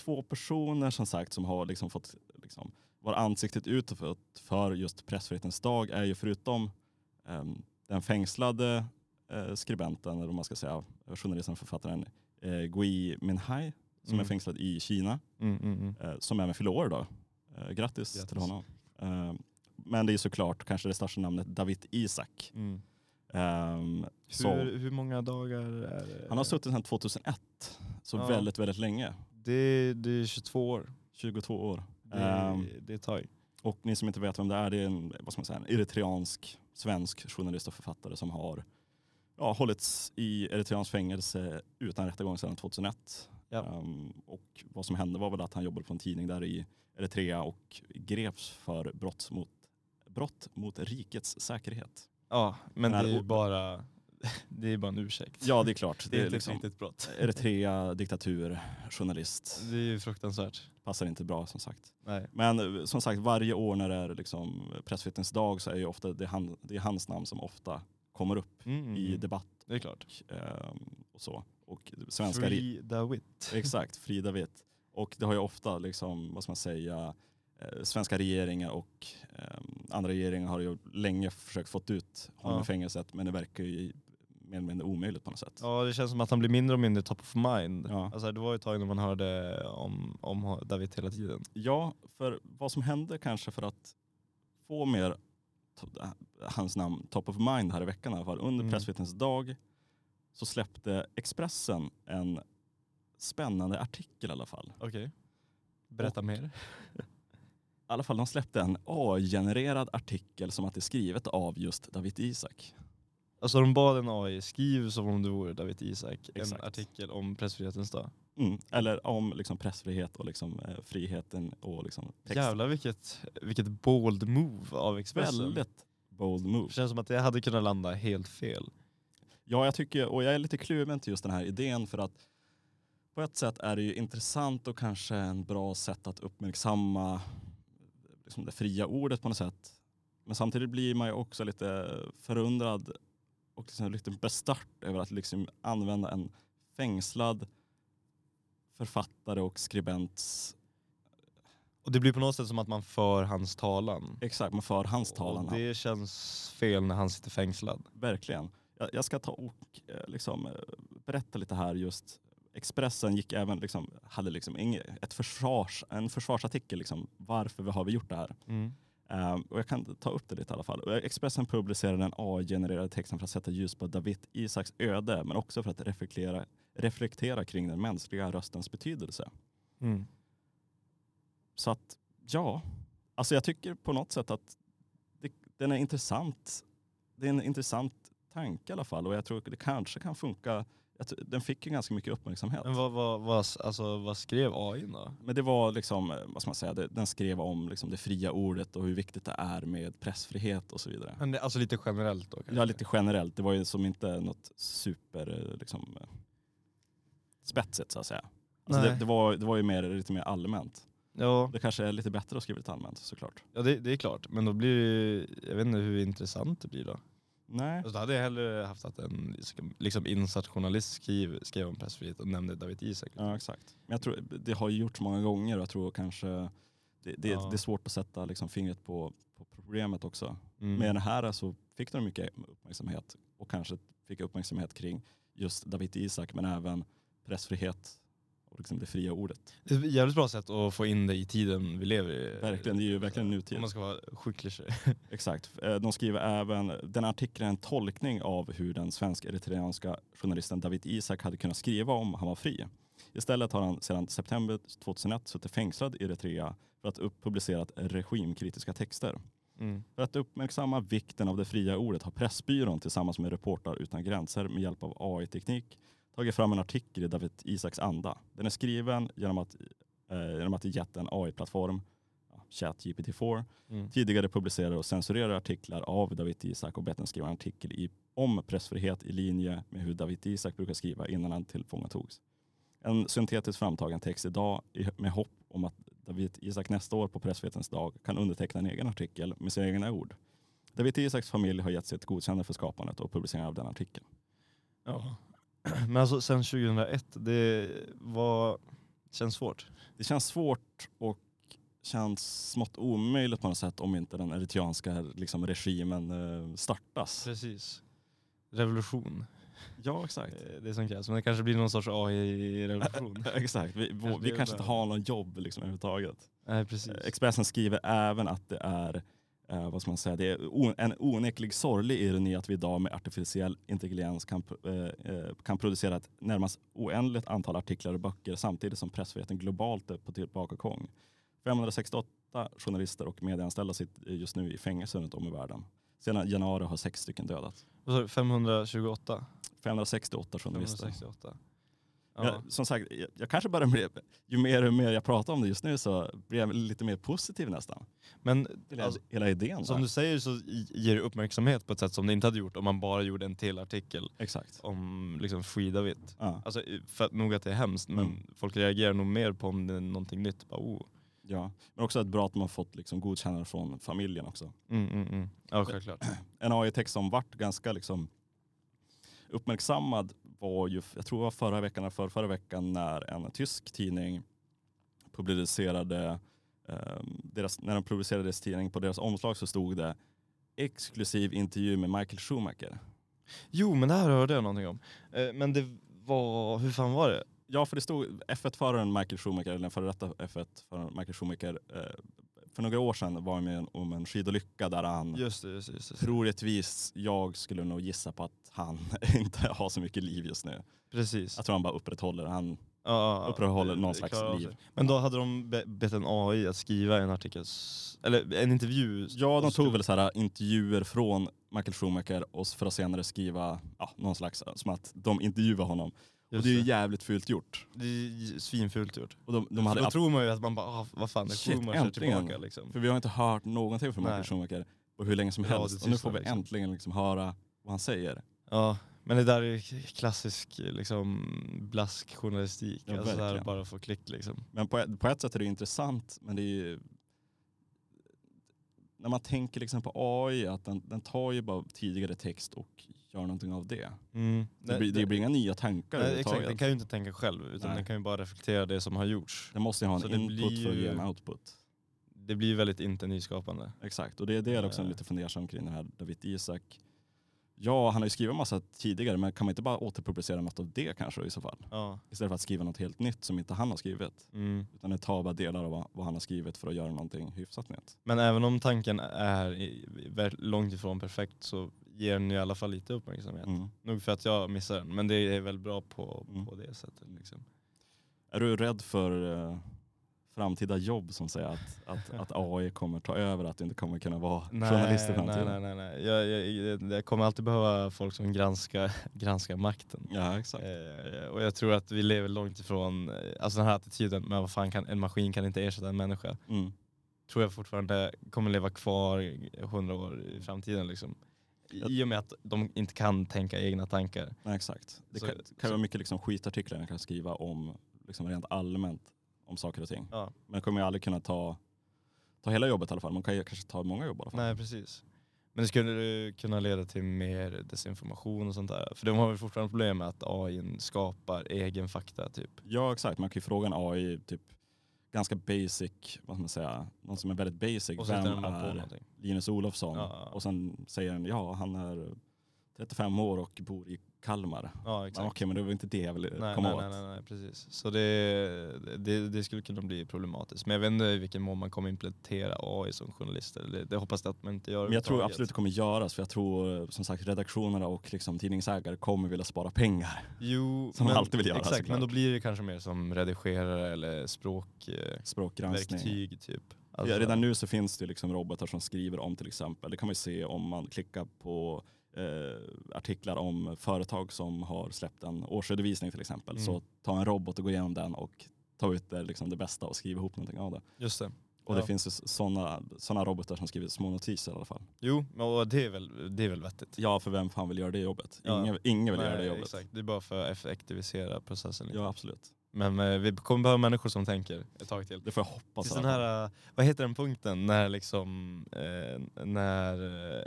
[SPEAKER 1] två personer som sagt som har liksom fått liksom, vara ansiktet utåt för just pressfrihetens dag är ju förutom ehm, den fängslade eh, skribenten, eller vad man ska säga, journalisten och författaren eh, Gui Minhai, som är
[SPEAKER 2] Mm.
[SPEAKER 1] fängslad i Kina,
[SPEAKER 2] Mm, mm, mm.
[SPEAKER 1] eh, som även fyller år idag. Eh, grattis,
[SPEAKER 2] Grattis.
[SPEAKER 1] till honom. Eh, men det är såklart kanske det största namnet David Isak.
[SPEAKER 2] Mm.
[SPEAKER 1] Ehm, så,
[SPEAKER 2] Hur, hur många dagar är det?
[SPEAKER 1] han har suttit sedan 2001, så
[SPEAKER 2] Ja.
[SPEAKER 1] väldigt, väldigt länge.
[SPEAKER 2] det, det är 22 år.
[SPEAKER 1] 22 år.
[SPEAKER 2] Det,
[SPEAKER 1] Ehm,
[SPEAKER 2] det är ett tag.
[SPEAKER 1] Och ni som inte vet vem det är, det är en, vad ska man säga, en eritreansk svensk journalist och författare som har ja, hållits i eritreansk fängelse utan rättegång sedan 2001.
[SPEAKER 2] Ja.
[SPEAKER 1] Ehm, och vad som hände var väl att han jobbade på en tidning där i Eritrea och greps för brott mot, brott mot rikets säkerhet.
[SPEAKER 2] Ja, men
[SPEAKER 1] När
[SPEAKER 2] det är ju
[SPEAKER 1] o-
[SPEAKER 2] bara, det är bara en ursäkt.
[SPEAKER 1] Ja, det är klart.
[SPEAKER 2] det är inte
[SPEAKER 1] liksom
[SPEAKER 2] ett riktigt brott.
[SPEAKER 1] Eritrea, diktatur, journalist.
[SPEAKER 2] Det är ju fruktansvärt.
[SPEAKER 1] Passar inte bra som sagt.
[SPEAKER 2] Nej.
[SPEAKER 1] Men eh, som sagt, varje år när det är liksom pressfrihetens dag så är ju ofta, det, är han, det är hans namn som ofta kommer upp
[SPEAKER 2] Mm, mm,
[SPEAKER 1] i
[SPEAKER 2] mm.
[SPEAKER 1] debatt
[SPEAKER 2] det är klart.
[SPEAKER 1] ehm, och så. Och svenska ri-
[SPEAKER 2] Free the wit.
[SPEAKER 1] Exakt, Frida Witt. Och det har ju ofta, liksom, vad ska man säga, eh, svenska regeringar och ehm, andra regeringar har ju länge försökt få ut honom
[SPEAKER 2] Ja.
[SPEAKER 1] i fängelset men det verkar ju mer eller mindre omöjligt på något sätt.
[SPEAKER 2] Ja, det känns som att han blir mindre och mindre top of mind.
[SPEAKER 1] Ja.
[SPEAKER 2] Alltså, det var ju ett tag när man hörde om, om David hela tiden.
[SPEAKER 1] Ja, för vad som hände kanske för att få mer to- hans namn top of mind här i veckan i alla fall. Under
[SPEAKER 2] Mm.
[SPEAKER 1] pressfrihetens dag så släppte Expressen en spännande artikel i alla fall.
[SPEAKER 2] Okej. Berätta mer.
[SPEAKER 1] I alla fall de släppte en AI-genererad artikel som att det är skrivet av just David Isak.
[SPEAKER 2] Alltså de bad en AI skriv som om du vore David Isak en
[SPEAKER 1] Exakt.
[SPEAKER 2] artikel om pressfrihetens dag.
[SPEAKER 1] Mm. Eller om liksom pressfrihet och liksom, eh, friheten och liksom text.
[SPEAKER 2] Jävlar vilket, vilket bold move av Expressen.
[SPEAKER 1] Väldigt bold move.
[SPEAKER 2] Det känns som att det hade kunnat landa helt fel.
[SPEAKER 1] Ja, jag tycker, och jag är lite kluven till just den här idén för att på ett sätt är det ju intressant och kanske en bra sätt att uppmärksamma liksom det fria ordet på något sätt. Men samtidigt blir man ju också lite förundrad och liksom riktigt bestört över att liksom använda en fängslad författare och skribents...
[SPEAKER 2] Och det blir på något sätt som att man för hans talan.
[SPEAKER 1] Exakt, man för hans talan.
[SPEAKER 2] Och det känns fel när han sitter fängslad.
[SPEAKER 1] Verkligen. Jag, jag ska ta och eh, liksom, eh, berätta lite här just. Expressen gick även, liksom, hade liksom inge- ett försvars, en försvarsartikel. Liksom, varför vi- har vi gjort det här? Eh, och jag kan ta upp det lite i alla fall. Och Expressen publicerade den AI-genererade texten för att sätta ljus på David Isaks öde, men också för att reflektera, reflektera kring den mänskliga röstens betydelse.
[SPEAKER 2] Mm.
[SPEAKER 1] Så att ja, alltså jag tycker på något sätt att det, den är intressant. Det är en intressant tanke i alla fall och jag tror att det kanske kan funka. Jag tror- Den fick ju ganska mycket uppmärksamhet.
[SPEAKER 2] Men vad, vad, vad, alltså, vad skrev AI då?
[SPEAKER 1] Men det var liksom, eh, vad ska man säga, det, den skrev om liksom det fria ordet och hur viktigt det är med pressfrihet och så vidare.
[SPEAKER 2] Men det, alltså lite generellt då kanske?
[SPEAKER 1] Ja, lite generellt. Det var ju som inte något super eh, liksom, eh, spetsigt så att säga. Alltså
[SPEAKER 2] Nej.
[SPEAKER 1] det, det, var, det var ju mer, lite mer allmänt.
[SPEAKER 2] Ja,
[SPEAKER 1] Det kanske är lite bättre att skriva lite allmänt såklart.
[SPEAKER 2] ja det, det är klart. Men då blir det, jag vet inte hur intressant det blir då.
[SPEAKER 1] Nej.
[SPEAKER 2] Alltså, då hade jag hellre haft att en liksom, insatt journalist skrev, skrev om pressfrihet och nämnde David Isak.
[SPEAKER 1] Ja, exakt. Men jag tror, det har ju gjorts många gånger och jag tror kanske det, det,
[SPEAKER 2] Ja.
[SPEAKER 1] det är svårt att sätta liksom fingret på, på problemet också.
[SPEAKER 2] Mm.
[SPEAKER 1] Med den här så fick den mycket uppmärksamhet och kanske fick uppmärksamhet kring just David Isak men även pressfrihet och liksom det fria ordet.
[SPEAKER 2] Det är ett jävligt bra sätt att få in det i tiden vi lever i.
[SPEAKER 1] Verkligen, det är ju verkligen nutid.
[SPEAKER 2] Om man ska vara skicklig
[SPEAKER 1] Exakt. Eh, De skriver även, den artikeln är en tolkning av hur den svensk-eritreanska journalisten David Isak hade kunnat skriva om han var fri. Istället har han sedan september 2001 suttit fängslad i Eritrea för att upp- publicerat regimkritiska texter.
[SPEAKER 2] Mm,
[SPEAKER 1] För att uppmärksamma vikten av det fria ordet har Pressbyrån tillsammans med Reportrar utan gränser med hjälp av AI-teknik tagit fram en artikel i David Isaks anda. Den är skriven genom att, eh, genom att gett en AI-plattform, ja, ChatGPT-4,
[SPEAKER 2] mm.
[SPEAKER 1] tidigare publicerade och censurerade artiklar av David Isak och bett den skriva en artikel i, om pressfrihet i linje med hur David Isak brukar skriva innan han tillfångatogs. En syntetiskt framtagen text idag i- med hopp om att David Isak nästa år på Pressfrihetens dag kan underteckna en egen artikel med sina egna ord. David Isaks familj har gett sitt godkännande för skapandet och publiceringen av den artikeln.
[SPEAKER 2] Ja. Men alltså sen 2001, det var... känns svårt.
[SPEAKER 1] Det känns svårt och känns smått omöjligt på något sätt om inte den eritreanska liksom, regimen eh, startas.
[SPEAKER 2] Precis. Revolution.
[SPEAKER 1] Ja, exakt.
[SPEAKER 2] Eh, Det är som krävs. Men det kanske blir någon sorts AI-revolution.
[SPEAKER 1] Exakt, vi, vår, vi
[SPEAKER 2] blir
[SPEAKER 1] kanske
[SPEAKER 2] det.
[SPEAKER 1] inte har någon jobb liksom, överhuvudtaget.
[SPEAKER 2] Nej precis.
[SPEAKER 1] Eh, Expressen skriver även att det är eh, vad ska man säga, det är o- en oneklig sorglig ironi att vi idag med artificiell intelligens kan, pro- eh, eh, kan producera ett närmast oändligt antal artiklar och böcker samtidigt som pressfriheten globalt är på tillbakagång. 568 journalister och medieanställda sitter just nu i fängelse runt om i världen. Sedan januari har sex stycken dödats.
[SPEAKER 2] Vad sa du? 528?
[SPEAKER 1] 568 journalister.
[SPEAKER 2] 568.
[SPEAKER 1] Jag,
[SPEAKER 2] Ja.
[SPEAKER 1] som sagt, jag, jag kanske bara blev, ju mer och mer jag pratar om det just nu så blir jag lite mer positiv nästan.
[SPEAKER 2] Men
[SPEAKER 1] Till
[SPEAKER 2] alltså,
[SPEAKER 1] hela idén.
[SPEAKER 2] som
[SPEAKER 1] där.
[SPEAKER 2] du säger så i- ger det uppmärksamhet på ett sätt som det inte hade gjort om man bara gjorde en till artikel
[SPEAKER 1] Exakt.
[SPEAKER 2] om liksom Free David.
[SPEAKER 1] Ja.
[SPEAKER 2] Alltså i- för att nog att det är hemskt men
[SPEAKER 1] Mm.
[SPEAKER 2] folk reagerar nog mer på om det är någonting nytt. Bara, oh.
[SPEAKER 1] ja. Men också att bra att man har fått liksom, godkännande från familjen också.
[SPEAKER 2] mm, mm, mm. Ja självklart.
[SPEAKER 1] En AI-text som vart ganska liksom, uppmärksammad var ju, jag tror det var förra veckan eller förra, förra veckan när en tysk tidning publicerade, ehm, deras, när de publicerade deras tidning, på deras omslag så stod det exklusiv intervju med Michael Schumacher.
[SPEAKER 2] Jo men det här hörde jag någonting om. Eh, Men det var, hur fan var det?
[SPEAKER 1] Ja, för det stod F1-föraren Michael Schumacher, eller den före detta F1-föraren Michael Schumacher, eh, för några år sedan var han med om en skidolycka där han
[SPEAKER 2] Just det, just det. Just det.
[SPEAKER 1] troligtvis, jag skulle nog gissa på att han inte har så mycket liv just nu.
[SPEAKER 2] Precis.
[SPEAKER 1] Jag tror han bara upprätthåller, han
[SPEAKER 2] ja,
[SPEAKER 1] upprätthåller
[SPEAKER 2] det-
[SPEAKER 1] någon
[SPEAKER 2] det
[SPEAKER 1] slags
[SPEAKER 2] klarar av
[SPEAKER 1] liv.
[SPEAKER 2] sig. Men då hade de be- bett en AI att skriva en artikel, s- eller en intervju.
[SPEAKER 1] Ja, de tog väl så här eh, intervjuer från Michael Schumacher och för att senare skriva ja, någon slags, eh, som att de intervjuar honom. Och
[SPEAKER 2] Just
[SPEAKER 1] det är ju
[SPEAKER 2] det.
[SPEAKER 1] jävligt fult gjort.
[SPEAKER 2] Det är ju svinfult gjort.
[SPEAKER 1] Och de, de
[SPEAKER 2] De
[SPEAKER 1] hade
[SPEAKER 2] då tror man ju att man bara, ah, vad fan, det
[SPEAKER 1] Shit,
[SPEAKER 2] Schumacher
[SPEAKER 1] äntligen.
[SPEAKER 2] tillbaka liksom.
[SPEAKER 1] För vi har inte hört någonting från Michael
[SPEAKER 2] Nej.
[SPEAKER 1] Schumacher på hur länge som
[SPEAKER 2] Radio
[SPEAKER 1] helst. Och nu får vi
[SPEAKER 2] tystnad, liksom.
[SPEAKER 1] äntligen liksom höra vad han säger.
[SPEAKER 2] Ja, men det där är ju klassisk liksom, blaskjournalistik.
[SPEAKER 1] Ja,
[SPEAKER 2] alltså, så här,
[SPEAKER 1] verkligen.
[SPEAKER 2] bara få klick liksom.
[SPEAKER 1] Men på, ett- på ett sätt är det ju intressant, men det är ju... När man tänker liksom på AI, att den, den tar ju bara tidigare text och gör någonting av det.
[SPEAKER 2] Mm.
[SPEAKER 1] Det blir, det blir inga nya tankar
[SPEAKER 2] nej, exakt, den
[SPEAKER 1] överhuvudtaget.
[SPEAKER 2] kan ju inte tänka själv utan
[SPEAKER 1] Nej.
[SPEAKER 2] den kan ju bara reflektera det som har gjorts.
[SPEAKER 1] Den måste ju ha en
[SPEAKER 2] Så det
[SPEAKER 1] input
[SPEAKER 2] blir
[SPEAKER 1] för att ge en
[SPEAKER 2] ju-
[SPEAKER 1] output.
[SPEAKER 2] Det blir väldigt inte nyskapande.
[SPEAKER 1] Exakt, och det är det jag också är
[SPEAKER 2] Eh.
[SPEAKER 1] lite fundersam kring den här David Isak. Ja, han har ju skrivit en massa tidigare, men kan man inte bara återpublicera något av det kanske i så fall?
[SPEAKER 2] Ja.
[SPEAKER 1] Istället för att skriva något helt nytt som inte han har skrivit.
[SPEAKER 2] Mm.
[SPEAKER 1] Utan det tar bara delar av vad- vad han har skrivit för att göra någonting hyfsat nytt.
[SPEAKER 2] Men även om tanken är i- ver- långt ifrån perfekt så ger den ju i alla fall lite uppmärksamhet.
[SPEAKER 1] Mm.
[SPEAKER 2] Nog för att jag missar den, men det är väl bra på,
[SPEAKER 1] Mm.
[SPEAKER 2] på det sättet. Liksom.
[SPEAKER 1] Är du rädd för eh, framtida jobb som säger att, att, att AI kommer ta över, att du inte kommer kunna vara journalist i
[SPEAKER 2] nej,
[SPEAKER 1] framtiden?
[SPEAKER 2] nej, nej. nej. Jag, jag, jag kommer alltid behöva folk som granskar, granskar makten.
[SPEAKER 1] Ja, exakt.
[SPEAKER 2] Eh, och jag tror att vi lever långt ifrån, eh, alltså den här attityden, men vad fan kan, en maskin kan inte ersätta en människa.
[SPEAKER 1] Mm.
[SPEAKER 2] Tror jag fortfarande kommer leva kvar hundra år i framtiden liksom. I och med att de inte kan tänka egna tankar.
[SPEAKER 1] Nej, exakt. Det
[SPEAKER 2] Så-
[SPEAKER 1] kan, kan vara mycket liksom skitartiklar man kan skriva om liksom rent allmänt om saker och ting.
[SPEAKER 2] Ja.
[SPEAKER 1] Men kommer ju aldrig kunna ta, ta hela jobbet i alla fall. Man kan ju kanske ta många jobb i alla fall.
[SPEAKER 2] Nej precis. Men det skulle ju kunna leda till mer desinformation och sånt där. För de har väl fortfarande problem med att AI skapar egen fakta typ.
[SPEAKER 1] Ja, exakt. Man kan ju fråga en AI typ ganska basic, vad ska man säga, någon som är väldigt basic.
[SPEAKER 2] Och så hittar
[SPEAKER 1] Vem
[SPEAKER 2] man på
[SPEAKER 1] är
[SPEAKER 2] någonting.
[SPEAKER 1] Linus Olofsson?
[SPEAKER 2] Ja.
[SPEAKER 1] Och sen säger den, ja han är 35 år och bor i Kalmar.
[SPEAKER 2] Ja
[SPEAKER 1] Ja, Okej,
[SPEAKER 2] exakt.
[SPEAKER 1] men det var inte det jag ville
[SPEAKER 2] Nej,
[SPEAKER 1] komma
[SPEAKER 2] nej,
[SPEAKER 1] åt.
[SPEAKER 2] nej, nej, nej, precis. Så det, det, det skulle kunna bli problematiskt. Men jag vet inte i vilken mån man kommer implementera AI som journalist. Eller Det, det hoppas jag att man inte gör.
[SPEAKER 1] Men jag tror
[SPEAKER 2] överhuvudtaget.
[SPEAKER 1] absolut det kommer göras, för jag tror eh, som sagt redaktionerna och liksom, tidningsägare kommer vilja spara pengar.
[SPEAKER 2] Jo,
[SPEAKER 1] Som man alltid vill göra,
[SPEAKER 2] Exakt,
[SPEAKER 1] såklart.
[SPEAKER 2] men då blir det kanske mer som redigerare eller språkverktyg
[SPEAKER 1] Språkgranskning.
[SPEAKER 2] typ.
[SPEAKER 1] ja, redan nu så finns det ju liksom robotar som skriver om till exempel, det kan man ju se om man klickar på eh, artiklar om företag som har släppt en årsredovisning till exempel.
[SPEAKER 2] Mm.
[SPEAKER 1] Så ta en robot och gå igenom den och ta ut det, liksom, det bästa och skriva ihop någonting av det.
[SPEAKER 2] Just det.
[SPEAKER 1] Och
[SPEAKER 2] Ja.
[SPEAKER 1] det finns ju sådana såna robotar som skriver små notiser i alla fall.
[SPEAKER 2] Jo, men- och det är väl, det är väl vettigt.
[SPEAKER 1] Ja, för vem fan vill göra det jobbet?
[SPEAKER 2] Ja.
[SPEAKER 1] Ingen, ingen vill göra
[SPEAKER 2] Nej,
[SPEAKER 1] det jobbet.
[SPEAKER 2] Exakt. Det är bara för att effektivisera processen. lite.
[SPEAKER 1] Ja, absolut.
[SPEAKER 2] Men eh, vi kommer behöva människor som tänker ett tag till.
[SPEAKER 1] Det får jag hoppas.
[SPEAKER 2] Tills
[SPEAKER 1] i alla
[SPEAKER 2] den
[SPEAKER 1] fall.
[SPEAKER 2] här, eh, vad heter den punkten när liksom, eh, när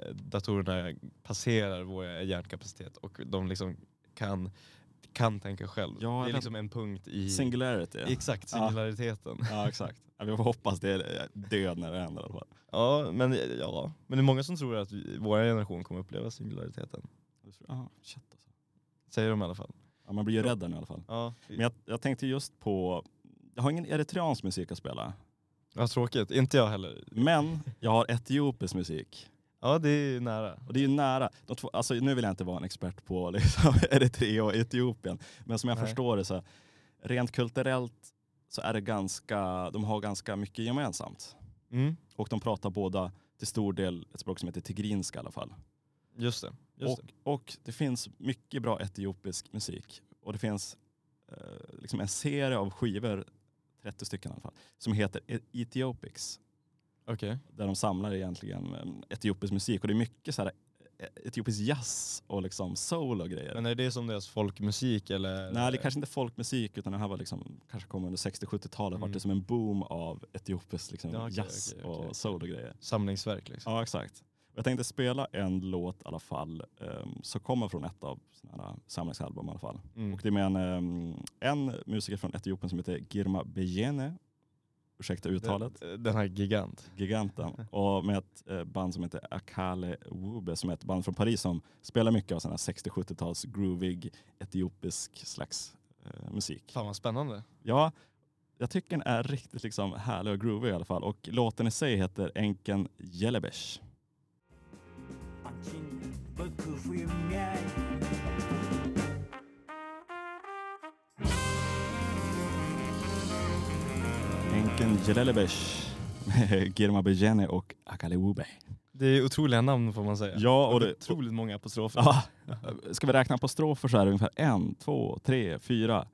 [SPEAKER 2] eh, datorerna passerar vår hjärnkapacitet och de liksom kan, kan tänka själv.
[SPEAKER 1] Ja,
[SPEAKER 2] det är
[SPEAKER 1] jag
[SPEAKER 2] liksom en punkt i
[SPEAKER 1] Singularity.
[SPEAKER 2] exakt
[SPEAKER 1] Ja.
[SPEAKER 2] singulariteten.
[SPEAKER 1] Ja, exakt. Ja, Vi får hoppas det är eh, död när det händer i alla fall.
[SPEAKER 2] Ja, men, ja, men det är många som tror att vi, vår generation kommer uppleva singulariteten.
[SPEAKER 1] Ja, shit alltså.
[SPEAKER 2] Säger de i alla fall.
[SPEAKER 1] ja, man blir ju rädd där nu i alla fall.
[SPEAKER 2] Ja,
[SPEAKER 1] Men jag, jag tänkte just på, jag har ingen eritreansk musik att spela,
[SPEAKER 2] ja, tråkigt. Inte jag heller.
[SPEAKER 1] men jag har etiopisk musik.
[SPEAKER 2] Ja, det är ju nära.
[SPEAKER 1] Och det är ju nära, de två, alltså nu vill jag inte vara en expert på liksom, Eritrea och Etiopien, men som jag
[SPEAKER 2] Nej.
[SPEAKER 1] förstår det så, rent kulturellt så är det ganska, de har ganska mycket gemensamt.
[SPEAKER 2] Mm,
[SPEAKER 1] Och de pratar båda till stor del ett språk som heter tigrinska i alla fall.
[SPEAKER 2] just det. Just
[SPEAKER 1] Och, och det finns mycket bra etiopisk musik. Och det finns eh, liksom en serie av skivor, 30 stycken i alla fall, som heter E- Ethiopics.
[SPEAKER 2] det. Okej.
[SPEAKER 1] Där de samlar egentligen eh, etiopisk musik. Och det är mycket så här eh, etiopisk jazz och liksom soul och grejer.
[SPEAKER 2] Men är det som deras folkmusik eller?
[SPEAKER 1] Nej, det är kanske inte folkmusik utan det här var liksom, kanske kom under 60-70-talet. vart
[SPEAKER 2] Mm.
[SPEAKER 1] det som en boom av etiopisk liksom,
[SPEAKER 2] Ja, okej,
[SPEAKER 1] jazz
[SPEAKER 2] okej, okej, okej.
[SPEAKER 1] och soul och grejer.
[SPEAKER 2] Samlingsverk liksom.
[SPEAKER 1] Ja, exakt. Jag tänkte spela en låt i alla fall ehm, som kommer från ett av såna här samlingsalbum i alla fall.
[SPEAKER 2] Mm.
[SPEAKER 1] Och det är med en, ehm, en musiker från Etiopien som heter Girma Bejene. Ursäkta uttalet.
[SPEAKER 2] Eh, Den, den här gigant.
[SPEAKER 1] Giganten. Och med ett eh, band som heter Akale Wube som är ett band från Paris som spelar mycket av sån här 60-70-tals groovig etiopisk slags eh, musik.
[SPEAKER 2] Fan vad spännande.
[SPEAKER 1] Ja, jag tycker den är riktigt liksom härlig och groovig i alla fall. Och låten i sig heter Enken Jelebesh. Enken Jelelebesh med Girma Bejene och Akale Wube.
[SPEAKER 2] Det är otroliga namn får man säga.
[SPEAKER 1] Ja, och det,
[SPEAKER 2] Otroligt många apostrofer.
[SPEAKER 1] Ja. Eh, Ska vi räkna på strofer så är det ungefär en, två, tre, fyra,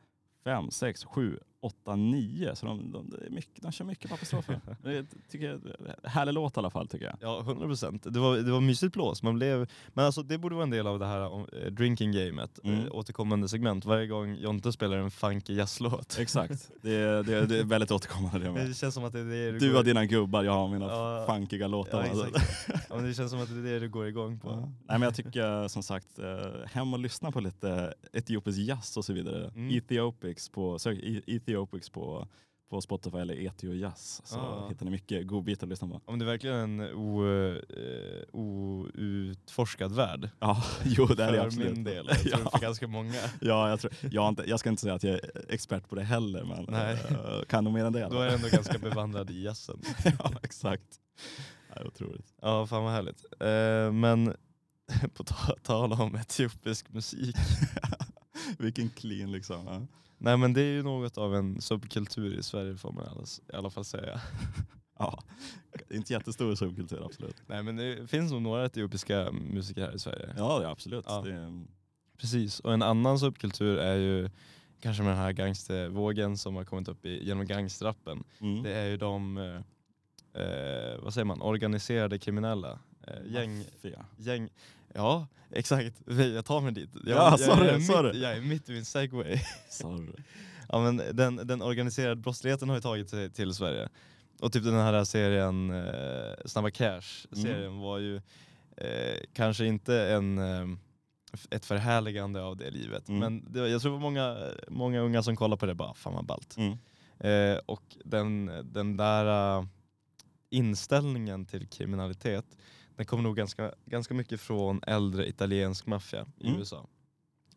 [SPEAKER 1] fem, sex, sju, 8, 9. Så de, de, det är mycket, de kör mycket papperstrofer. det tycker jag, härlig låt i alla fall tycker jag.
[SPEAKER 2] Ja, 100 procent. Det var, det var mysigt blås. Man blev, men alltså, det borde vara en del av det här om, eh, drinking gamet.
[SPEAKER 1] Mm.
[SPEAKER 2] Eh, återkommande segment. Varje gång Jonte spelar en funky jazzlåt.
[SPEAKER 1] Exakt. Det, är- det, är- det är väldigt återkommande det med.
[SPEAKER 2] Det känns som att det är det
[SPEAKER 1] Du
[SPEAKER 2] går-
[SPEAKER 1] har dina gubbar, jag har mina
[SPEAKER 2] Ja.
[SPEAKER 1] funkiga låtar.
[SPEAKER 2] ja,
[SPEAKER 1] Alltså. Mm.
[SPEAKER 2] exakt. ja, men Det känns som att det är det du går igång på.
[SPEAKER 1] Ja. Nej, men jag tycker som sagt, eh, hem och lyssna på lite etiopisk jazz och så vidare.
[SPEAKER 2] Mm.
[SPEAKER 1] Ethiopics på, sök E- Ethiopics på, på Spotify eller Ethio Jazz. Så
[SPEAKER 2] Ja.
[SPEAKER 1] hittar ni mycket godbitar att lyssna på.
[SPEAKER 2] Om det är verkligen en o- eh, outforskad värld.
[SPEAKER 1] Ja, jo det är det
[SPEAKER 2] för
[SPEAKER 1] absolut.
[SPEAKER 2] min del, jag tror
[SPEAKER 1] Ja.
[SPEAKER 2] för ganska många.
[SPEAKER 1] Ja, jag, tror, jag, har inte, jag ska inte säga att jag är expert på det heller, men
[SPEAKER 2] Nej.
[SPEAKER 1] eh, kan nog mer än det. i alla
[SPEAKER 2] Då är jag
[SPEAKER 1] fall.
[SPEAKER 2] ändå ganska bevandrad i jazzen.
[SPEAKER 1] ja, exakt. Ja, det är otroligt.
[SPEAKER 2] Ja, fan vad härligt. Eh, men på ta- tal om etiopisk musik.
[SPEAKER 1] Vilken clean liksom. Ja.
[SPEAKER 2] Nej men det är ju något av en subkultur i Sverige får man alls- i alla fall säga.
[SPEAKER 1] Ja, inte jättestor subkultur absolut.
[SPEAKER 2] Nej men det finns nog några etiopiska musiker här i Sverige.
[SPEAKER 1] Ja, ja absolut.
[SPEAKER 2] Ja.
[SPEAKER 1] Det är,
[SPEAKER 2] Precis, och en annan subkultur är ju kanske med den här gangstervågen som har kommit upp i, genom gangstrappen.
[SPEAKER 1] mm.
[SPEAKER 2] Det är ju de, eh, eh, vad säger man, organiserade kriminella. Eh, gäng,
[SPEAKER 1] Maffia.
[SPEAKER 2] gäng, ja exakt, jag tar mig dit. Jag,
[SPEAKER 1] Ja,
[SPEAKER 2] jag,
[SPEAKER 1] sa du,
[SPEAKER 2] jag, är
[SPEAKER 1] sa
[SPEAKER 2] mitt-
[SPEAKER 1] du.
[SPEAKER 2] jag är mitt i min segway.
[SPEAKER 1] Sorry.
[SPEAKER 2] Ja, men den, den organiserade brottsligheten har ju tagit sig till Sverige. Och typ den här serien eh, Snabba
[SPEAKER 1] Mm.
[SPEAKER 2] Cash-serien var ju eh, kanske inte en, eh, f- ett förhärligande av det livet.
[SPEAKER 1] Mm.
[SPEAKER 2] Men det, var- jag tror det var många, många unga som kollade på det bara, fan vad ballt.
[SPEAKER 1] Mm.
[SPEAKER 2] Eh, och den, den där eh, inställningen till kriminalitet, den kommer nog ganska, ganska mycket från äldre italiensk maffia i
[SPEAKER 1] Mm.
[SPEAKER 2] USA.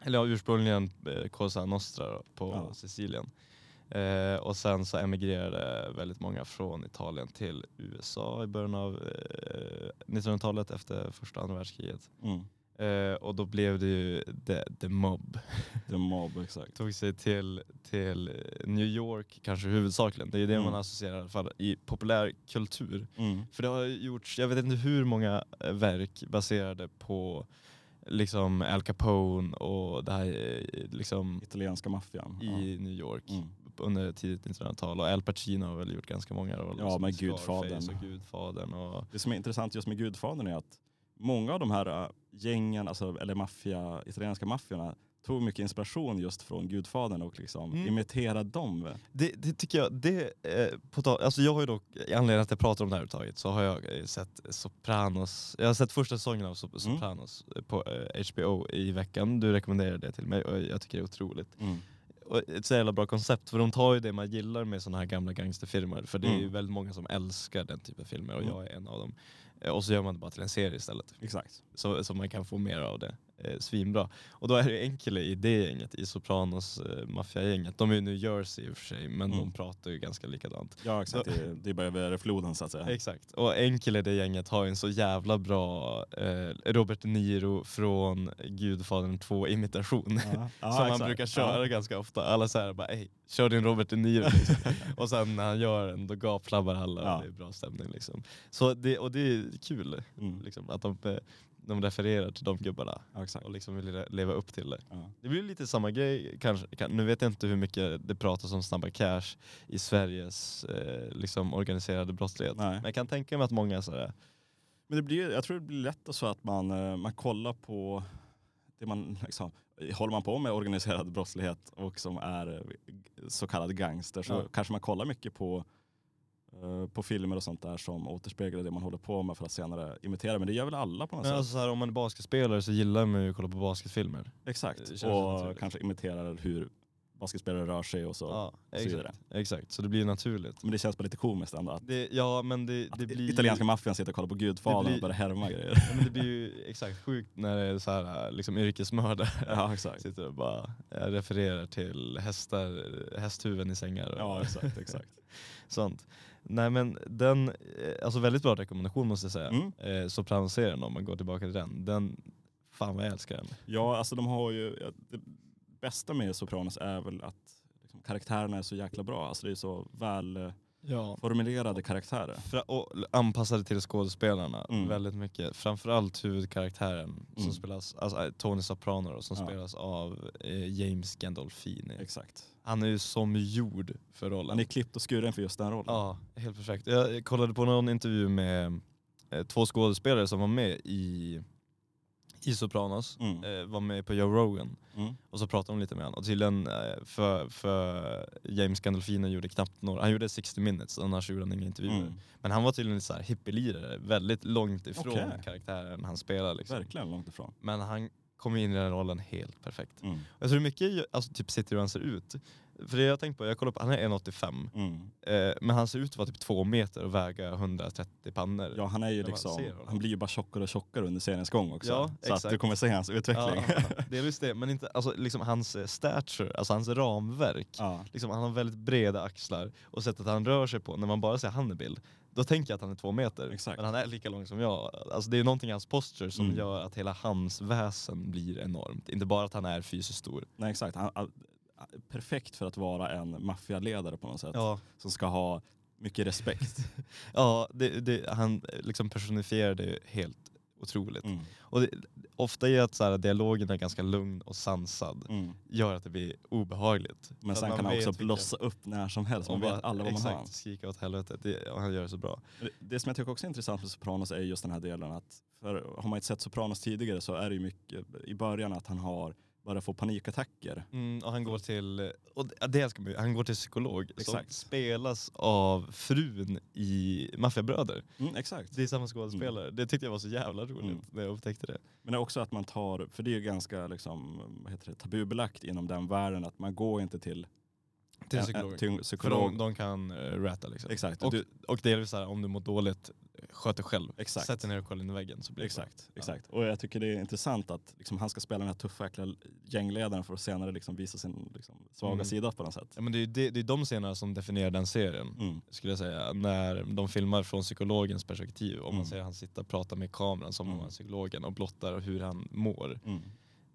[SPEAKER 2] Eller ja, ursprungligen eh, Cosa Nostra då, på
[SPEAKER 1] Ja.
[SPEAKER 2] Sicilien. Eh, och sen så emigrerade väldigt många från Italien till USA i början av eh, 1900-talet efter första andra världskriget.
[SPEAKER 1] Mm.
[SPEAKER 2] Eh, och då blev det ju The, the Mob.
[SPEAKER 1] The Mob, exakt.
[SPEAKER 2] Tog sig till, till New York kanske huvudsakligen. Det är ju det
[SPEAKER 1] Mm.
[SPEAKER 2] man associerar i alla fall i populär kultur.
[SPEAKER 1] Mm.
[SPEAKER 2] För det har gjorts, jag vet inte hur många eh, verk baserade på liksom Al Capone och det här eh, liksom
[SPEAKER 1] Italienska maffian.
[SPEAKER 2] i New York
[SPEAKER 1] Ja. Mm.
[SPEAKER 2] under tidigt 1900-tal och Al Pacino har väl gjort ganska många roller.
[SPEAKER 1] Ja,
[SPEAKER 2] som
[SPEAKER 1] men
[SPEAKER 2] Scarface
[SPEAKER 1] Gudfadern.
[SPEAKER 2] och Gudfadern och
[SPEAKER 1] Det som är intressant just med Gudfadern är att många av de här äh, gängen, alltså, eller maffia, italienska maffiorna, tog mycket inspiration just från Gudfadern och liksom
[SPEAKER 2] Mm.
[SPEAKER 1] imiterade dem.
[SPEAKER 2] Det, det tycker jag, det, eh, på tal, alltså jag har ju dock, i anledning till att jag pratar om det här överhuvudtaget, så har jag eh, sett Sopranos, jag har sett första säsongen av Sop-
[SPEAKER 1] Mm.
[SPEAKER 2] Sopranos eh, på eh, HBO i veckan, du rekommenderade det till mig och jag tycker det är otroligt.
[SPEAKER 1] Mm.
[SPEAKER 2] Och ett så jävla bra koncept, för de tar ju det man gillar med såna här gamla gangsterfilmer, för det är ju
[SPEAKER 1] Mm.
[SPEAKER 2] väldigt många som älskar den typen av filmer och
[SPEAKER 1] Mm.
[SPEAKER 2] jag är en av dem. Eh, Och så gör man det bara till en serie istället
[SPEAKER 1] Exakt.
[SPEAKER 2] så, så man kan få mer av det. Eh, svinbra. Och då är det ju en kille i det gänget, i Sopranos eh, maffiagänget. De är ju i New Jersey i och för sig, men de
[SPEAKER 1] Mm.
[SPEAKER 2] pratar ju ganska likadant.
[SPEAKER 1] Ja, exakt. Det, det är bara över floden så att säga.
[SPEAKER 2] Exakt. Och en kille i det gänget har ju en så jävla bra eh, Robert De Niro från Gudfadern 2-imitation.
[SPEAKER 1] Ja. Ja,
[SPEAKER 2] som han
[SPEAKER 1] exakt.
[SPEAKER 2] brukar köra ganska ofta. Alla säger bara ey, kör din Robert De Niro. Liksom. och sen när han gör den, då gapflabbar alla
[SPEAKER 1] Ja.
[SPEAKER 2] och det är bra stämning. Liksom. Så det, och det är kul
[SPEAKER 1] Ja. Mm.
[SPEAKER 2] liksom, att de, eh, de refererer till de gubbarna
[SPEAKER 1] Ja, exakt.
[SPEAKER 2] och liksom vill le- leva upp till det.
[SPEAKER 1] Ja.
[SPEAKER 2] Det blir lite samma grej kanske. kan- Nu vet jag inte hur mycket det pratas om Snabba Cash i Sveriges eh, liksom organiserade brottslighet.
[SPEAKER 1] Nej.
[SPEAKER 2] Men jag kan tänka mig att många sådär,
[SPEAKER 1] Men det blir, jag tror det blir lätt så att man, eh, man kollar på det man liksom, håller man på med organiserad brottslighet och som är eh, så kallad gangster så
[SPEAKER 2] Ja.
[SPEAKER 1] kanske man kollar mycket på, eh, på filmer och sånt där som återspeglar det man håller på med för att senare imitera. Men det gör väl alla på något
[SPEAKER 2] men
[SPEAKER 1] sätt?
[SPEAKER 2] alltså såhär, om man är basketspelare så gillar man ju att kolla på basketfilmer. det
[SPEAKER 1] Exakt.
[SPEAKER 2] känns
[SPEAKER 1] Och
[SPEAKER 2] naturligt.
[SPEAKER 1] kanske imiterar hur basketspelare rör sig och så.
[SPEAKER 2] Ja,
[SPEAKER 1] så vidare.
[SPEAKER 2] exakt. exakt, så det blir naturligt.
[SPEAKER 1] Men det känns bara lite komiskt ändå att,
[SPEAKER 2] Det, ja men det,
[SPEAKER 1] att
[SPEAKER 2] det blir...
[SPEAKER 1] italienska maffian sitter och kollar på Gudfadern
[SPEAKER 2] det blir-
[SPEAKER 1] och börjar härma grejer.
[SPEAKER 2] Ja, men det blir ju exakt sjukt när det är så här, liksom yrkesmördare.
[SPEAKER 1] ja exakt.
[SPEAKER 2] Sitter och bara eh, refererar till hästar, hästhuven i sängar. och-
[SPEAKER 1] Ja exakt, exakt.
[SPEAKER 2] Sånt. Nej men den, eh, alltså väldigt bra rekommendation måste jag säga.
[SPEAKER 1] Mm.
[SPEAKER 2] Eh, Sopranos-serien om man går tillbaka till den. Den, fan vad jag älskar den.
[SPEAKER 1] Ja, alltså de har ju, ja, det bästa med Sopranos är väl att liksom, karaktärerna är så jäkla bra. Alltså det är så väl, eh,
[SPEAKER 2] Ja.
[SPEAKER 1] formulerade karaktärer.
[SPEAKER 2] Fra- och anpassade till skådespelarna
[SPEAKER 1] Mm.
[SPEAKER 2] väldigt mycket. Framförallt huvudkaraktären som
[SPEAKER 1] Mm.
[SPEAKER 2] spelas, alltså eh, Tony Soprano då, som
[SPEAKER 1] Ja.
[SPEAKER 2] spelas av eh, James Gandolfini.
[SPEAKER 1] Exakt.
[SPEAKER 2] Han är ju som gjord för rollen.
[SPEAKER 1] Han är klippt och skuren för just den rollen.
[SPEAKER 2] Ja, helt perfekt. Jag kollade på någon intervju med eh, två skådespelare som var med i, i Sopranos.
[SPEAKER 1] Mm.
[SPEAKER 2] Eh, var med på Joe Rogan
[SPEAKER 1] Mm.
[SPEAKER 2] och så pratade de lite med honom. Och tydligen eh, för, för James Gandolfino gjorde knappt några, han gjorde 60 minutes annars gjorde han inga intervjuer.
[SPEAKER 1] Mm.
[SPEAKER 2] Men han var tydligen lite så här hippielirare, väldigt långt ifrån
[SPEAKER 1] Okej.
[SPEAKER 2] karaktären han spelar. Liksom.
[SPEAKER 1] Verkligen långt ifrån.
[SPEAKER 2] Men han kom in i den rollen helt perfekt.
[SPEAKER 1] Mm.
[SPEAKER 2] Jag tror mycket i- alltså, typ sitter hur han ser ut. För det jag tänkt på, jag kollar på, han är 1,85
[SPEAKER 1] Mm.
[SPEAKER 2] eh, men han ser ut att vara typ två meter och väga 130 pannor.
[SPEAKER 1] Ja, han är ju
[SPEAKER 2] När man ser
[SPEAKER 1] liksom,
[SPEAKER 2] honom.
[SPEAKER 1] han blir ju bara tjockare och tjockare under seriens gång också.
[SPEAKER 2] Ja,
[SPEAKER 1] så att
[SPEAKER 2] exakt.
[SPEAKER 1] du kommer se hans utveckling. Ja.
[SPEAKER 2] Ja, delvis det, men inte, alltså, liksom, hans eh, stature, alltså hans ramverk. Liksom, han har väldigt breda axlar och sättet han rör sig på, när man bara ser han i bild, då tänker jag att han är två meter.
[SPEAKER 1] Exakt.
[SPEAKER 2] Men han är lika lång som jag. Alltså, det är någonting i hans posture som
[SPEAKER 1] Mm.
[SPEAKER 2] gör att hela hans väsen blir enormt. Inte bara att han är fysiskt stor.
[SPEAKER 1] Nej, exakt. Han, han, perfekt för att vara en maffialedare på något sätt.
[SPEAKER 2] Ja,
[SPEAKER 1] Som ska ha mycket respekt.
[SPEAKER 2] ja det, det, han eh, liksom personifierar det helt otroligt.
[SPEAKER 1] Mm.
[SPEAKER 2] Och det, ofta är att så här, dialogen är ganska lugn och sansad,
[SPEAKER 1] Mm.
[SPEAKER 2] gör att det blir obehagligt. För
[SPEAKER 1] Men
[SPEAKER 2] att
[SPEAKER 1] sen
[SPEAKER 2] man
[SPEAKER 1] kan han
[SPEAKER 2] vet
[SPEAKER 1] också
[SPEAKER 2] vilka-
[SPEAKER 1] blossa upp när som helst. Man
[SPEAKER 2] och bara-
[SPEAKER 1] vet alla vad man
[SPEAKER 2] exakt,
[SPEAKER 1] har.
[SPEAKER 2] skrika åt helvete. Det, och han gör det så bra.
[SPEAKER 1] Det- Det som jag tycker också är intressant med Sopranos är just den här delen att för har man inte sett Sopranos tidigare så är det ju mycket i början att han har börjat få panikattacker.
[SPEAKER 2] Mm, och han går till, och det- det älskar man ju, han går till psykolog
[SPEAKER 1] Exakt.
[SPEAKER 2] som spelas av frun i Maffiabröder.
[SPEAKER 1] Mm, exakt.
[SPEAKER 2] Det är samma skådespelare. Det tyckte jag var så jävla roligt
[SPEAKER 1] Mm.
[SPEAKER 2] när jag upptäckte det.
[SPEAKER 1] Men det är också att man tar, för det är ju ganska liksom, vad heter det, tabubelagt inom den världen att man går inte till,
[SPEAKER 2] Till
[SPEAKER 1] en-
[SPEAKER 2] psykolog.
[SPEAKER 1] en, eh, till en
[SPEAKER 2] För
[SPEAKER 1] psykolog.
[SPEAKER 2] de, de kan uh, ratta liksom.
[SPEAKER 1] Exakt.
[SPEAKER 2] Och,
[SPEAKER 1] du,
[SPEAKER 2] och delvis såhär, om du mår dåligt, sköt dig själv.
[SPEAKER 1] Exakt.
[SPEAKER 2] Sätt dig ner och kolla in i väggen så blir det bra.
[SPEAKER 1] Exakt, exakt. Och jag tycker det är intressant att liksom, han ska spela den här tuffa jäkla gängledaren för att senare liksom, visa sin liksom, svaga
[SPEAKER 2] Mm.
[SPEAKER 1] sida på något sätt.
[SPEAKER 2] Ja, men det, är ju det, det är de scenerna som definierar den serien.
[SPEAKER 1] Mm.
[SPEAKER 2] skulle jag säga, när de filmar från psykologens perspektiv. Om
[SPEAKER 1] Mm.
[SPEAKER 2] man ser han sitta och prata med kameran som om
[SPEAKER 1] Mm.
[SPEAKER 2] han är psykologen och blottar hur han mår.
[SPEAKER 1] Mm.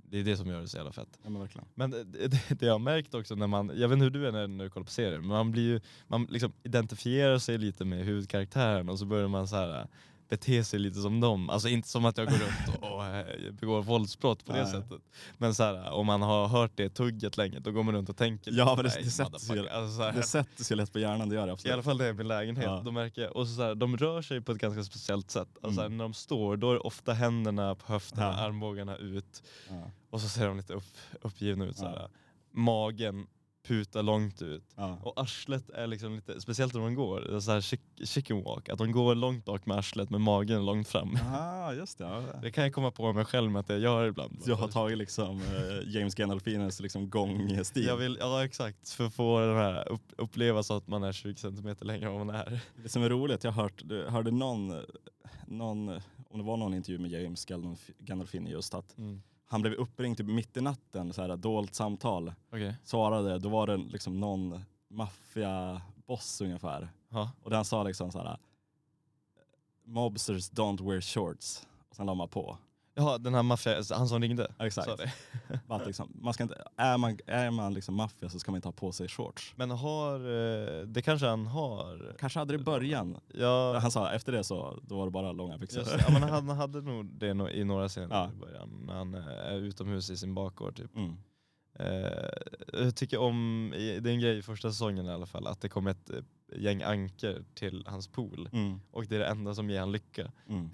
[SPEAKER 2] Det är det som gör det så jävla fett.
[SPEAKER 1] Ja, men verkligen.
[SPEAKER 2] Men det, det, det jag har märkt också när man, jag vet inte hur du är när, när du kollar på serier, men man blir ju, man liksom identifierar sig lite med huvudkaraktären och så börjar man så här äh, bete sig lite som dem. Alltså inte som att jag går runt och, och äh, begår våldsbrott på det
[SPEAKER 1] Nej.
[SPEAKER 2] sättet. Men så här, äh, om man har hört det tugget länge, då går man runt och tänker
[SPEAKER 1] Ja, men det-
[SPEAKER 2] "Nej,
[SPEAKER 1] det sätter sig ju-
[SPEAKER 2] motherfucker." Alltså, så här.
[SPEAKER 1] Det sätter sig lätt på hjärnan, det gör det
[SPEAKER 2] I alla
[SPEAKER 1] absolut.
[SPEAKER 2] fall det är min lägenhet.
[SPEAKER 1] Ja.
[SPEAKER 2] De, märker, och så så här, de rör sig på ett ganska speciellt sätt. Alltså
[SPEAKER 1] Mm.
[SPEAKER 2] så här, när de står, då är ofta händerna på höfterna,
[SPEAKER 1] Ja.
[SPEAKER 2] armbågarna ut.
[SPEAKER 1] Ja.
[SPEAKER 2] Och så ser de lite upp, uppgivna ut. Så
[SPEAKER 1] Ja.
[SPEAKER 2] här. Magen putar långt ut.
[SPEAKER 1] Ja.
[SPEAKER 2] Och arslet är liksom lite, speciellt när de går, det är så här chick- chicken walk, att de går långt bak med arslet med magen långt fram.
[SPEAKER 1] Aha, just det. ja.
[SPEAKER 2] Det kan jag komma på mig själv med att jag gör ibland.
[SPEAKER 1] Så Jag har tagit liksom, eh, James Gandolfinis liksom, gångstil.
[SPEAKER 2] jag vill, ja exakt, för att få den här upp, uppleva så att man är 20 centimeter längre än vad man är.
[SPEAKER 1] Det som är roligt, jag hört, du- hörde någon, någon, om det var någon intervju med James Gandolf- Gandolfini just att
[SPEAKER 2] Mm.
[SPEAKER 1] han blev uppringd typ mitt i natten, så här, dolt samtal.
[SPEAKER 2] Okej.
[SPEAKER 1] Svarade, då var det liksom någon maffiaboss ungefär.
[SPEAKER 2] Ja.
[SPEAKER 1] Och den sa liksom så här, Mobsters don't wear shorts. Och sen la man på.
[SPEAKER 2] Ja, den här maffia, han som ringde.
[SPEAKER 1] Ja, Exakt.
[SPEAKER 2] sa det.
[SPEAKER 1] Bara Att liksom, man ska inte, är man, är man liksom maffia så ska man inte ha på sig shorts.
[SPEAKER 2] Men har, eh, det kanske han har.
[SPEAKER 1] Kanske hade det i början.
[SPEAKER 2] Ja,
[SPEAKER 1] Han sa efter det så då var det bara långa byxor.
[SPEAKER 2] just, det. ja men han hade nog det no- i några scener
[SPEAKER 1] Ja.
[SPEAKER 2] i början. När han eh, är utomhus i sin bakgård typ.
[SPEAKER 1] Mm.
[SPEAKER 2] Eh, jag tycker om, i- det är en grej i första säsongen i alla fall, att det kom ett eh, gäng anker till hans pool.
[SPEAKER 1] Mm.
[SPEAKER 2] Och det är det enda som ger han lycka.
[SPEAKER 1] Mm.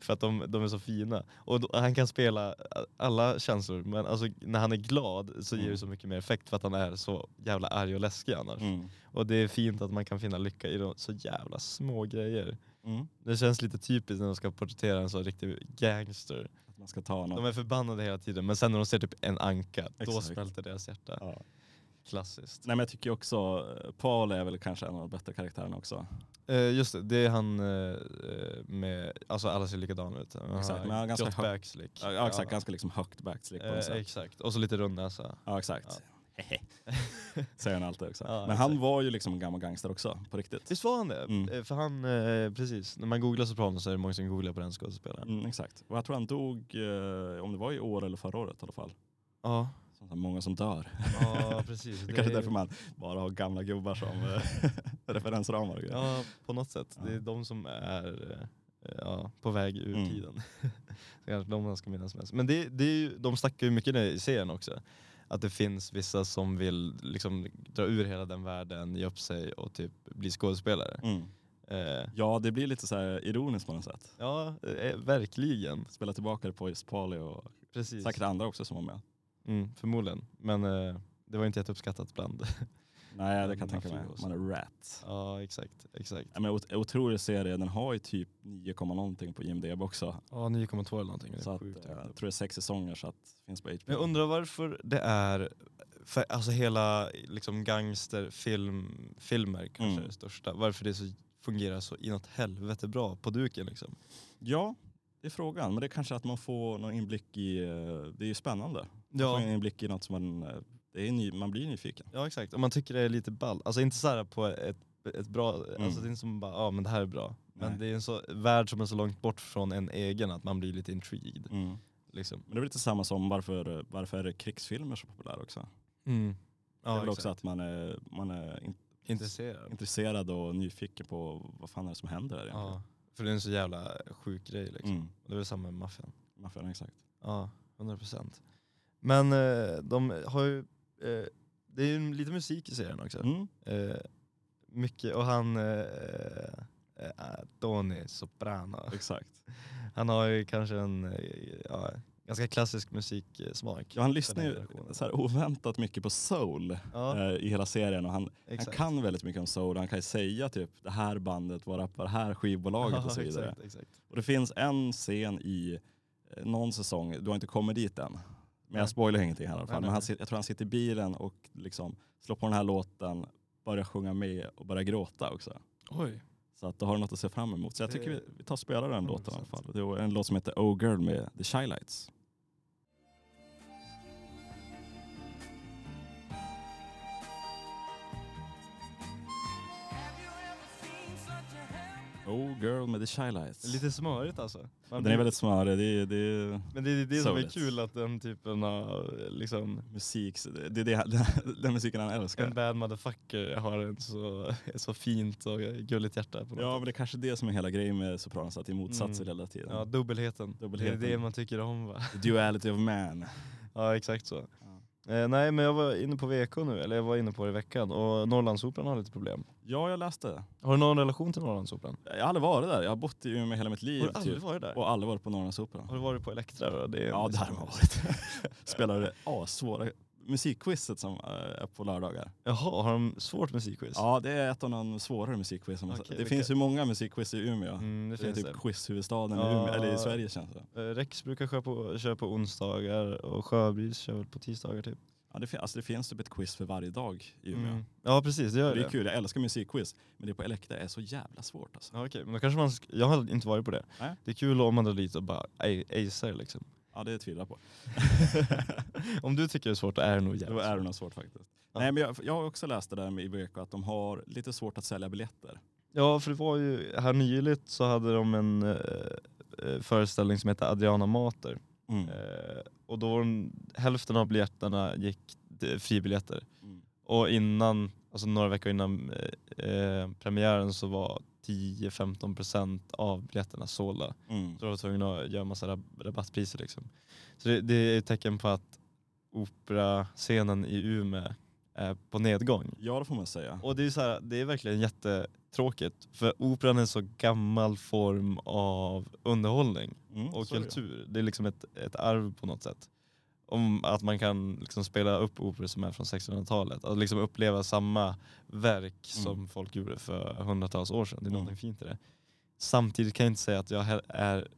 [SPEAKER 2] För att de, de är så fina. Och då, han kan spela a- alla känslor, men alltså, när han är glad så ger
[SPEAKER 1] Mm.
[SPEAKER 2] det så mycket mer effekt för att han är så jävla arg och läskig annars.
[SPEAKER 1] Mm.
[SPEAKER 2] Och det är fint att man kan finna lycka i de så jävla små grejer.
[SPEAKER 1] Mm.
[SPEAKER 2] Det känns lite typiskt när de ska porträttera en så riktig gangster.
[SPEAKER 1] Att man ska ta något.
[SPEAKER 2] De är förbannade hela tiden men sen när de ser typ en anka, då
[SPEAKER 1] Exakt.
[SPEAKER 2] smälter deras hjärta.
[SPEAKER 1] Ja.
[SPEAKER 2] Klassiskt.
[SPEAKER 1] Nej men jag tycker också, eh, Paul är väl kanske en av de bättre karaktärerna också.
[SPEAKER 2] Eh, just det, det är han eh, med, alltså alla ser likadana ut. Han har
[SPEAKER 1] Exakt, men han har ganska
[SPEAKER 2] grått
[SPEAKER 1] hög-
[SPEAKER 2] backslick.
[SPEAKER 1] Ja, ja exakt, ganska liksom högt backslick på
[SPEAKER 2] Eh,
[SPEAKER 1] något sätt.
[SPEAKER 2] exakt, och så lite rund näsa.
[SPEAKER 1] Ja exakt. Säger han alltid också.
[SPEAKER 2] Ja,
[SPEAKER 1] men han
[SPEAKER 2] exakt.
[SPEAKER 1] var ju liksom en gammal gangster också, på riktigt.
[SPEAKER 2] Visst var han det?
[SPEAKER 1] Mm.
[SPEAKER 2] Eh, För han, eh, precis, när man googlar Sopranos så är det många som googlar på den skådespelaren.
[SPEAKER 1] Mm, exakt. Och jag tror han dog, eh, om det var i år eller förra året i alla fall.
[SPEAKER 2] Ja,
[SPEAKER 1] Så som sagt, många som dör.
[SPEAKER 2] Ja, precis.
[SPEAKER 1] Det är kanske därför man bara har gamla gubbar som eh, referensramar. och grejer.
[SPEAKER 2] Ja, på något sätt. Det
[SPEAKER 1] Ja.
[SPEAKER 2] är de som är eh, ja, på väg ur
[SPEAKER 1] Mm.
[SPEAKER 2] tiden. Så kanske de man ska minnas mest. Men det, det är ju, de snackar ju mycket i serien också. Att det finns vissa som vill liksom dra ur hela den världen, ge upp sig och typ bli skådespelare.
[SPEAKER 1] Mm.
[SPEAKER 2] Eh,
[SPEAKER 1] ja, det blir lite så här ironiskt på något sätt.
[SPEAKER 2] ja, eh, verkligen.
[SPEAKER 1] Spela tillbaka det på just Polly och
[SPEAKER 2] Precis.
[SPEAKER 1] säkert andra också som var med.
[SPEAKER 2] Mm, förmodligen. Men eh, det var inte jätteuppskattat bland.
[SPEAKER 1] Nej, det kan jag
[SPEAKER 2] Men
[SPEAKER 1] tänka mig.
[SPEAKER 2] absolut.
[SPEAKER 1] Man är rat.
[SPEAKER 2] ja, exakt. exakt.
[SPEAKER 1] Ja, men ot- otrolig serie, den har ju typ 9, någonting på IMDB också.
[SPEAKER 2] Ja, 9,2 eller någonting. Det är
[SPEAKER 1] Så att,
[SPEAKER 2] sjukt
[SPEAKER 1] eh,
[SPEAKER 2] högt
[SPEAKER 1] jag
[SPEAKER 2] upp.
[SPEAKER 1] tror det är sex säsonger så att finns på HBO.
[SPEAKER 2] Men jag undrar varför det är, för, alltså hela liksom gangsterfilm, filmer kanske
[SPEAKER 1] Mm.
[SPEAKER 2] är det största, varför det så, fungerar så inåt helvete bra på duken liksom.
[SPEAKER 1] Ja, det är frågan. Men det är kanske att man får någon inblick i, eh, det är ju spännande. Man
[SPEAKER 2] Ja,
[SPEAKER 1] får en inblick i något som man, eh, det är ny, man blir nyfiken.
[SPEAKER 2] ja exakt, och man tycker det är lite ball. Alltså inte så här på ett, ett bra, alltså det är inte som bara ja men det här är bra. Men
[SPEAKER 1] Mm. Nej.
[SPEAKER 2] det är en så, värld som är så långt bort från en egen att man blir lite intrigued.
[SPEAKER 1] Mm.
[SPEAKER 2] Liksom.
[SPEAKER 1] Men det är väl lite samma som varför, eh, varför är det krigsfilmer så populära också?
[SPEAKER 2] Ja,
[SPEAKER 1] det är väl
[SPEAKER 2] exakt.
[SPEAKER 1] Mm. också att man är, man är in,
[SPEAKER 2] Intresserad.
[SPEAKER 1] intresserad och nyfiken på vad fan är det som händer här egentligen.
[SPEAKER 2] Ja, för det är en så jävla sjuk grej liksom.
[SPEAKER 1] Mm.
[SPEAKER 2] Och det är väl samma med maffian.
[SPEAKER 1] Varför, exakt.
[SPEAKER 2] Ja, 100 procent. Men eh, de har ju, eh, det är ju lite musik i serien också.
[SPEAKER 1] Mm.
[SPEAKER 2] Eh, mycket, och han, eh, eh, Tony Soprano,
[SPEAKER 1] Exakt.
[SPEAKER 2] han har ju kanske en eh, ja, ganska klassisk musiksmak.
[SPEAKER 1] Ja, han lyssnar
[SPEAKER 2] Den här
[SPEAKER 1] ju
[SPEAKER 2] generationen.
[SPEAKER 1] så här oväntat mycket på soul
[SPEAKER 2] Ja,
[SPEAKER 1] eh, i hela serien och han, han
[SPEAKER 2] exakt.
[SPEAKER 1] kan väldigt mycket om soul. Han kan ju säga typ det här bandet, vad rappar det här skivbolaget och så
[SPEAKER 2] Ja,
[SPEAKER 1] vidare.
[SPEAKER 2] Exakt, exakt.
[SPEAKER 1] Och det finns en scen i eh, någon säsong, du har inte kommit dit än. Men
[SPEAKER 2] Nej.
[SPEAKER 1] jag spoilar ingenting här i alla
[SPEAKER 2] Nej,
[SPEAKER 1] fall.
[SPEAKER 2] nej,
[SPEAKER 1] Men han,
[SPEAKER 2] nej.
[SPEAKER 1] sit- jag tror han sitter i bilen och liksom slår på den här låten, börjar sjunga med och börjar gråta också.
[SPEAKER 2] Oj.
[SPEAKER 1] Så att då har du något att se fram emot. Så jag
[SPEAKER 2] Det-
[SPEAKER 1] tycker vi, vi tar och spelar den låten i alla
[SPEAKER 2] 100%.
[SPEAKER 1] fall. Det är en låt som heter Oh Girl med The Shy Lights. Oh Girl med The Shy Lights.
[SPEAKER 2] Lite smörigt alltså. Man
[SPEAKER 1] Den är
[SPEAKER 2] blir-
[SPEAKER 1] väldigt smörig. Det är, det är
[SPEAKER 2] men det är det som är
[SPEAKER 1] Soulless.
[SPEAKER 2] kul att den typen av eh, liksom
[SPEAKER 1] musik, det är det, den, den musiken han älskar.
[SPEAKER 2] En bad motherfucker har en så, ett så fint och gulligt hjärta på något
[SPEAKER 1] Ja men det är kanske det som är hela grejen med Sopranos, att det är motsatser
[SPEAKER 2] Mm.
[SPEAKER 1] hela tiden.
[SPEAKER 2] Ja, dubbelheten.
[SPEAKER 1] Dubbelheten.
[SPEAKER 2] Det är det man tycker om va?
[SPEAKER 1] The duality of man.
[SPEAKER 2] Ja, exakt så. Eh, nej, men jag var inne på VK nu, eller jag var inne på det i veckan, och Norrlandsoperan har lite problem.
[SPEAKER 1] Ja jag läste.
[SPEAKER 2] Har du någon relation till Norrlandsoperan?
[SPEAKER 1] Jag har aldrig varit där, jag har bott i Umeå hela mitt liv.
[SPEAKER 2] Har du aldrig
[SPEAKER 1] typ.
[SPEAKER 2] varit där?
[SPEAKER 1] Och aldrig varit på Norrlandsoperan.
[SPEAKER 2] Har du varit på Elektra då? Det är
[SPEAKER 1] Ja där har man varit. Spelade assvåra musikquizet som eh, är på lördagar.
[SPEAKER 2] Jaha, har de svårt musikquiz?
[SPEAKER 1] Ja det är ett av de svårare musikquizen.
[SPEAKER 2] Okej,
[SPEAKER 1] det
[SPEAKER 2] vilka-
[SPEAKER 1] finns ju många musikquiz i Umeå.
[SPEAKER 2] Mm, det
[SPEAKER 1] det är
[SPEAKER 2] finns
[SPEAKER 1] typ
[SPEAKER 2] det.
[SPEAKER 1] quizhuvudstaden i,
[SPEAKER 2] Ja.
[SPEAKER 1] Umeå, eller i Sverige känns det.
[SPEAKER 2] Eh, Rex brukar köra på, köra på onsdagar och Sjöbris kör väl på tisdagar typ.
[SPEAKER 1] Ja, det, fin- alltså, det finns typ ett quiz för varje dag i Umeå.
[SPEAKER 2] Mm. Ja precis, det gör
[SPEAKER 1] Det är kul, jag älskar musikquiz. Men det på Elektra är så jävla svårt alltså.
[SPEAKER 2] Ja, okej, men då kanske man, sk- jag har inte varit på det.
[SPEAKER 1] Nej.
[SPEAKER 2] Det är kul om man drar dit och bara a- acear liksom.
[SPEAKER 1] Ja det tvivlar jag på.
[SPEAKER 2] om du tycker det är svårt då är det nog jävligt
[SPEAKER 1] Då är det nog svårt faktiskt.
[SPEAKER 2] Ja.
[SPEAKER 1] Nej men jag, jag har också läst det där med IBK att de har lite svårt att sälja biljetter.
[SPEAKER 2] Ja, för det var ju, här nyligt så hade de en eh, eh, föreställning som hette Adriana Mater.
[SPEAKER 1] Mm,
[SPEAKER 2] Eh, och då var de, hälften av biljetterna gick eh, fribiljetter.
[SPEAKER 1] Mm.
[SPEAKER 2] Och innan, alltså några veckor innan eh, eh, premiären så var 10-15% av biljetterna sålda.
[SPEAKER 1] Mm.
[SPEAKER 2] Så de var tvungna att göra massa rab- rabattpriser liksom. Så det, det är ett tecken på att operascenen i Umeå är på nedgång.
[SPEAKER 1] Ja det får man säga.
[SPEAKER 2] Och det är, ju så här, det är verkligen jättetråkigt för operan är en så gammal form av underhållning
[SPEAKER 1] Mm,
[SPEAKER 2] och
[SPEAKER 1] så är det.
[SPEAKER 2] kultur. Det är liksom ett, ett arv på något sätt. Om att man kan liksom spela upp operor som är från 1600-talet. Att liksom uppleva samma verk
[SPEAKER 1] Mm.
[SPEAKER 2] som folk gjorde för hundratals år sedan. Det är
[SPEAKER 1] Mm.
[SPEAKER 2] någonting fint i det. Samtidigt kan jag inte säga att jag he- är...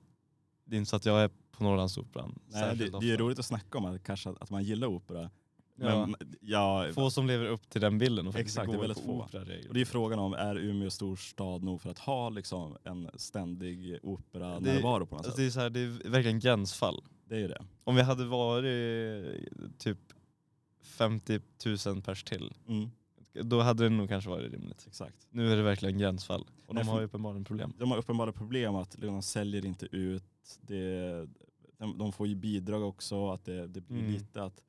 [SPEAKER 2] Det är inte så att jag är på Norrlandsoperan.
[SPEAKER 1] Nej, det,
[SPEAKER 2] särskilt
[SPEAKER 1] det är ju
[SPEAKER 2] ofta.
[SPEAKER 1] roligt att snacka om att, kanske att, att man gillar opera.
[SPEAKER 2] Ja.
[SPEAKER 1] Men ja,
[SPEAKER 2] Få som lever upp till den bilden och faktiskt
[SPEAKER 1] Exakt, det är
[SPEAKER 2] går
[SPEAKER 1] väldigt
[SPEAKER 2] på
[SPEAKER 1] få.
[SPEAKER 2] opera
[SPEAKER 1] och det är ju frågan om är Umeå storstad nog för att ha liksom, en ständig opera närvaro på något
[SPEAKER 2] Alltså
[SPEAKER 1] sätt.
[SPEAKER 2] det, är så här, det är verkligen gränsfall.
[SPEAKER 1] Det är ju det.
[SPEAKER 2] Om vi hade varit typ 50 000 pers till,
[SPEAKER 1] Mm,
[SPEAKER 2] då hade det nog kanske varit rimligt.
[SPEAKER 1] exakt.
[SPEAKER 2] Nu är det verkligen gränsfall. Och
[SPEAKER 1] Nej,
[SPEAKER 2] de
[SPEAKER 1] för-
[SPEAKER 2] har ju uppenbarligen problem.
[SPEAKER 1] De har uppenbara problem att de säljer inte ut. Det, de, de får ju bidrag också. Att det, det blir
[SPEAKER 2] Mm.
[SPEAKER 1] lite att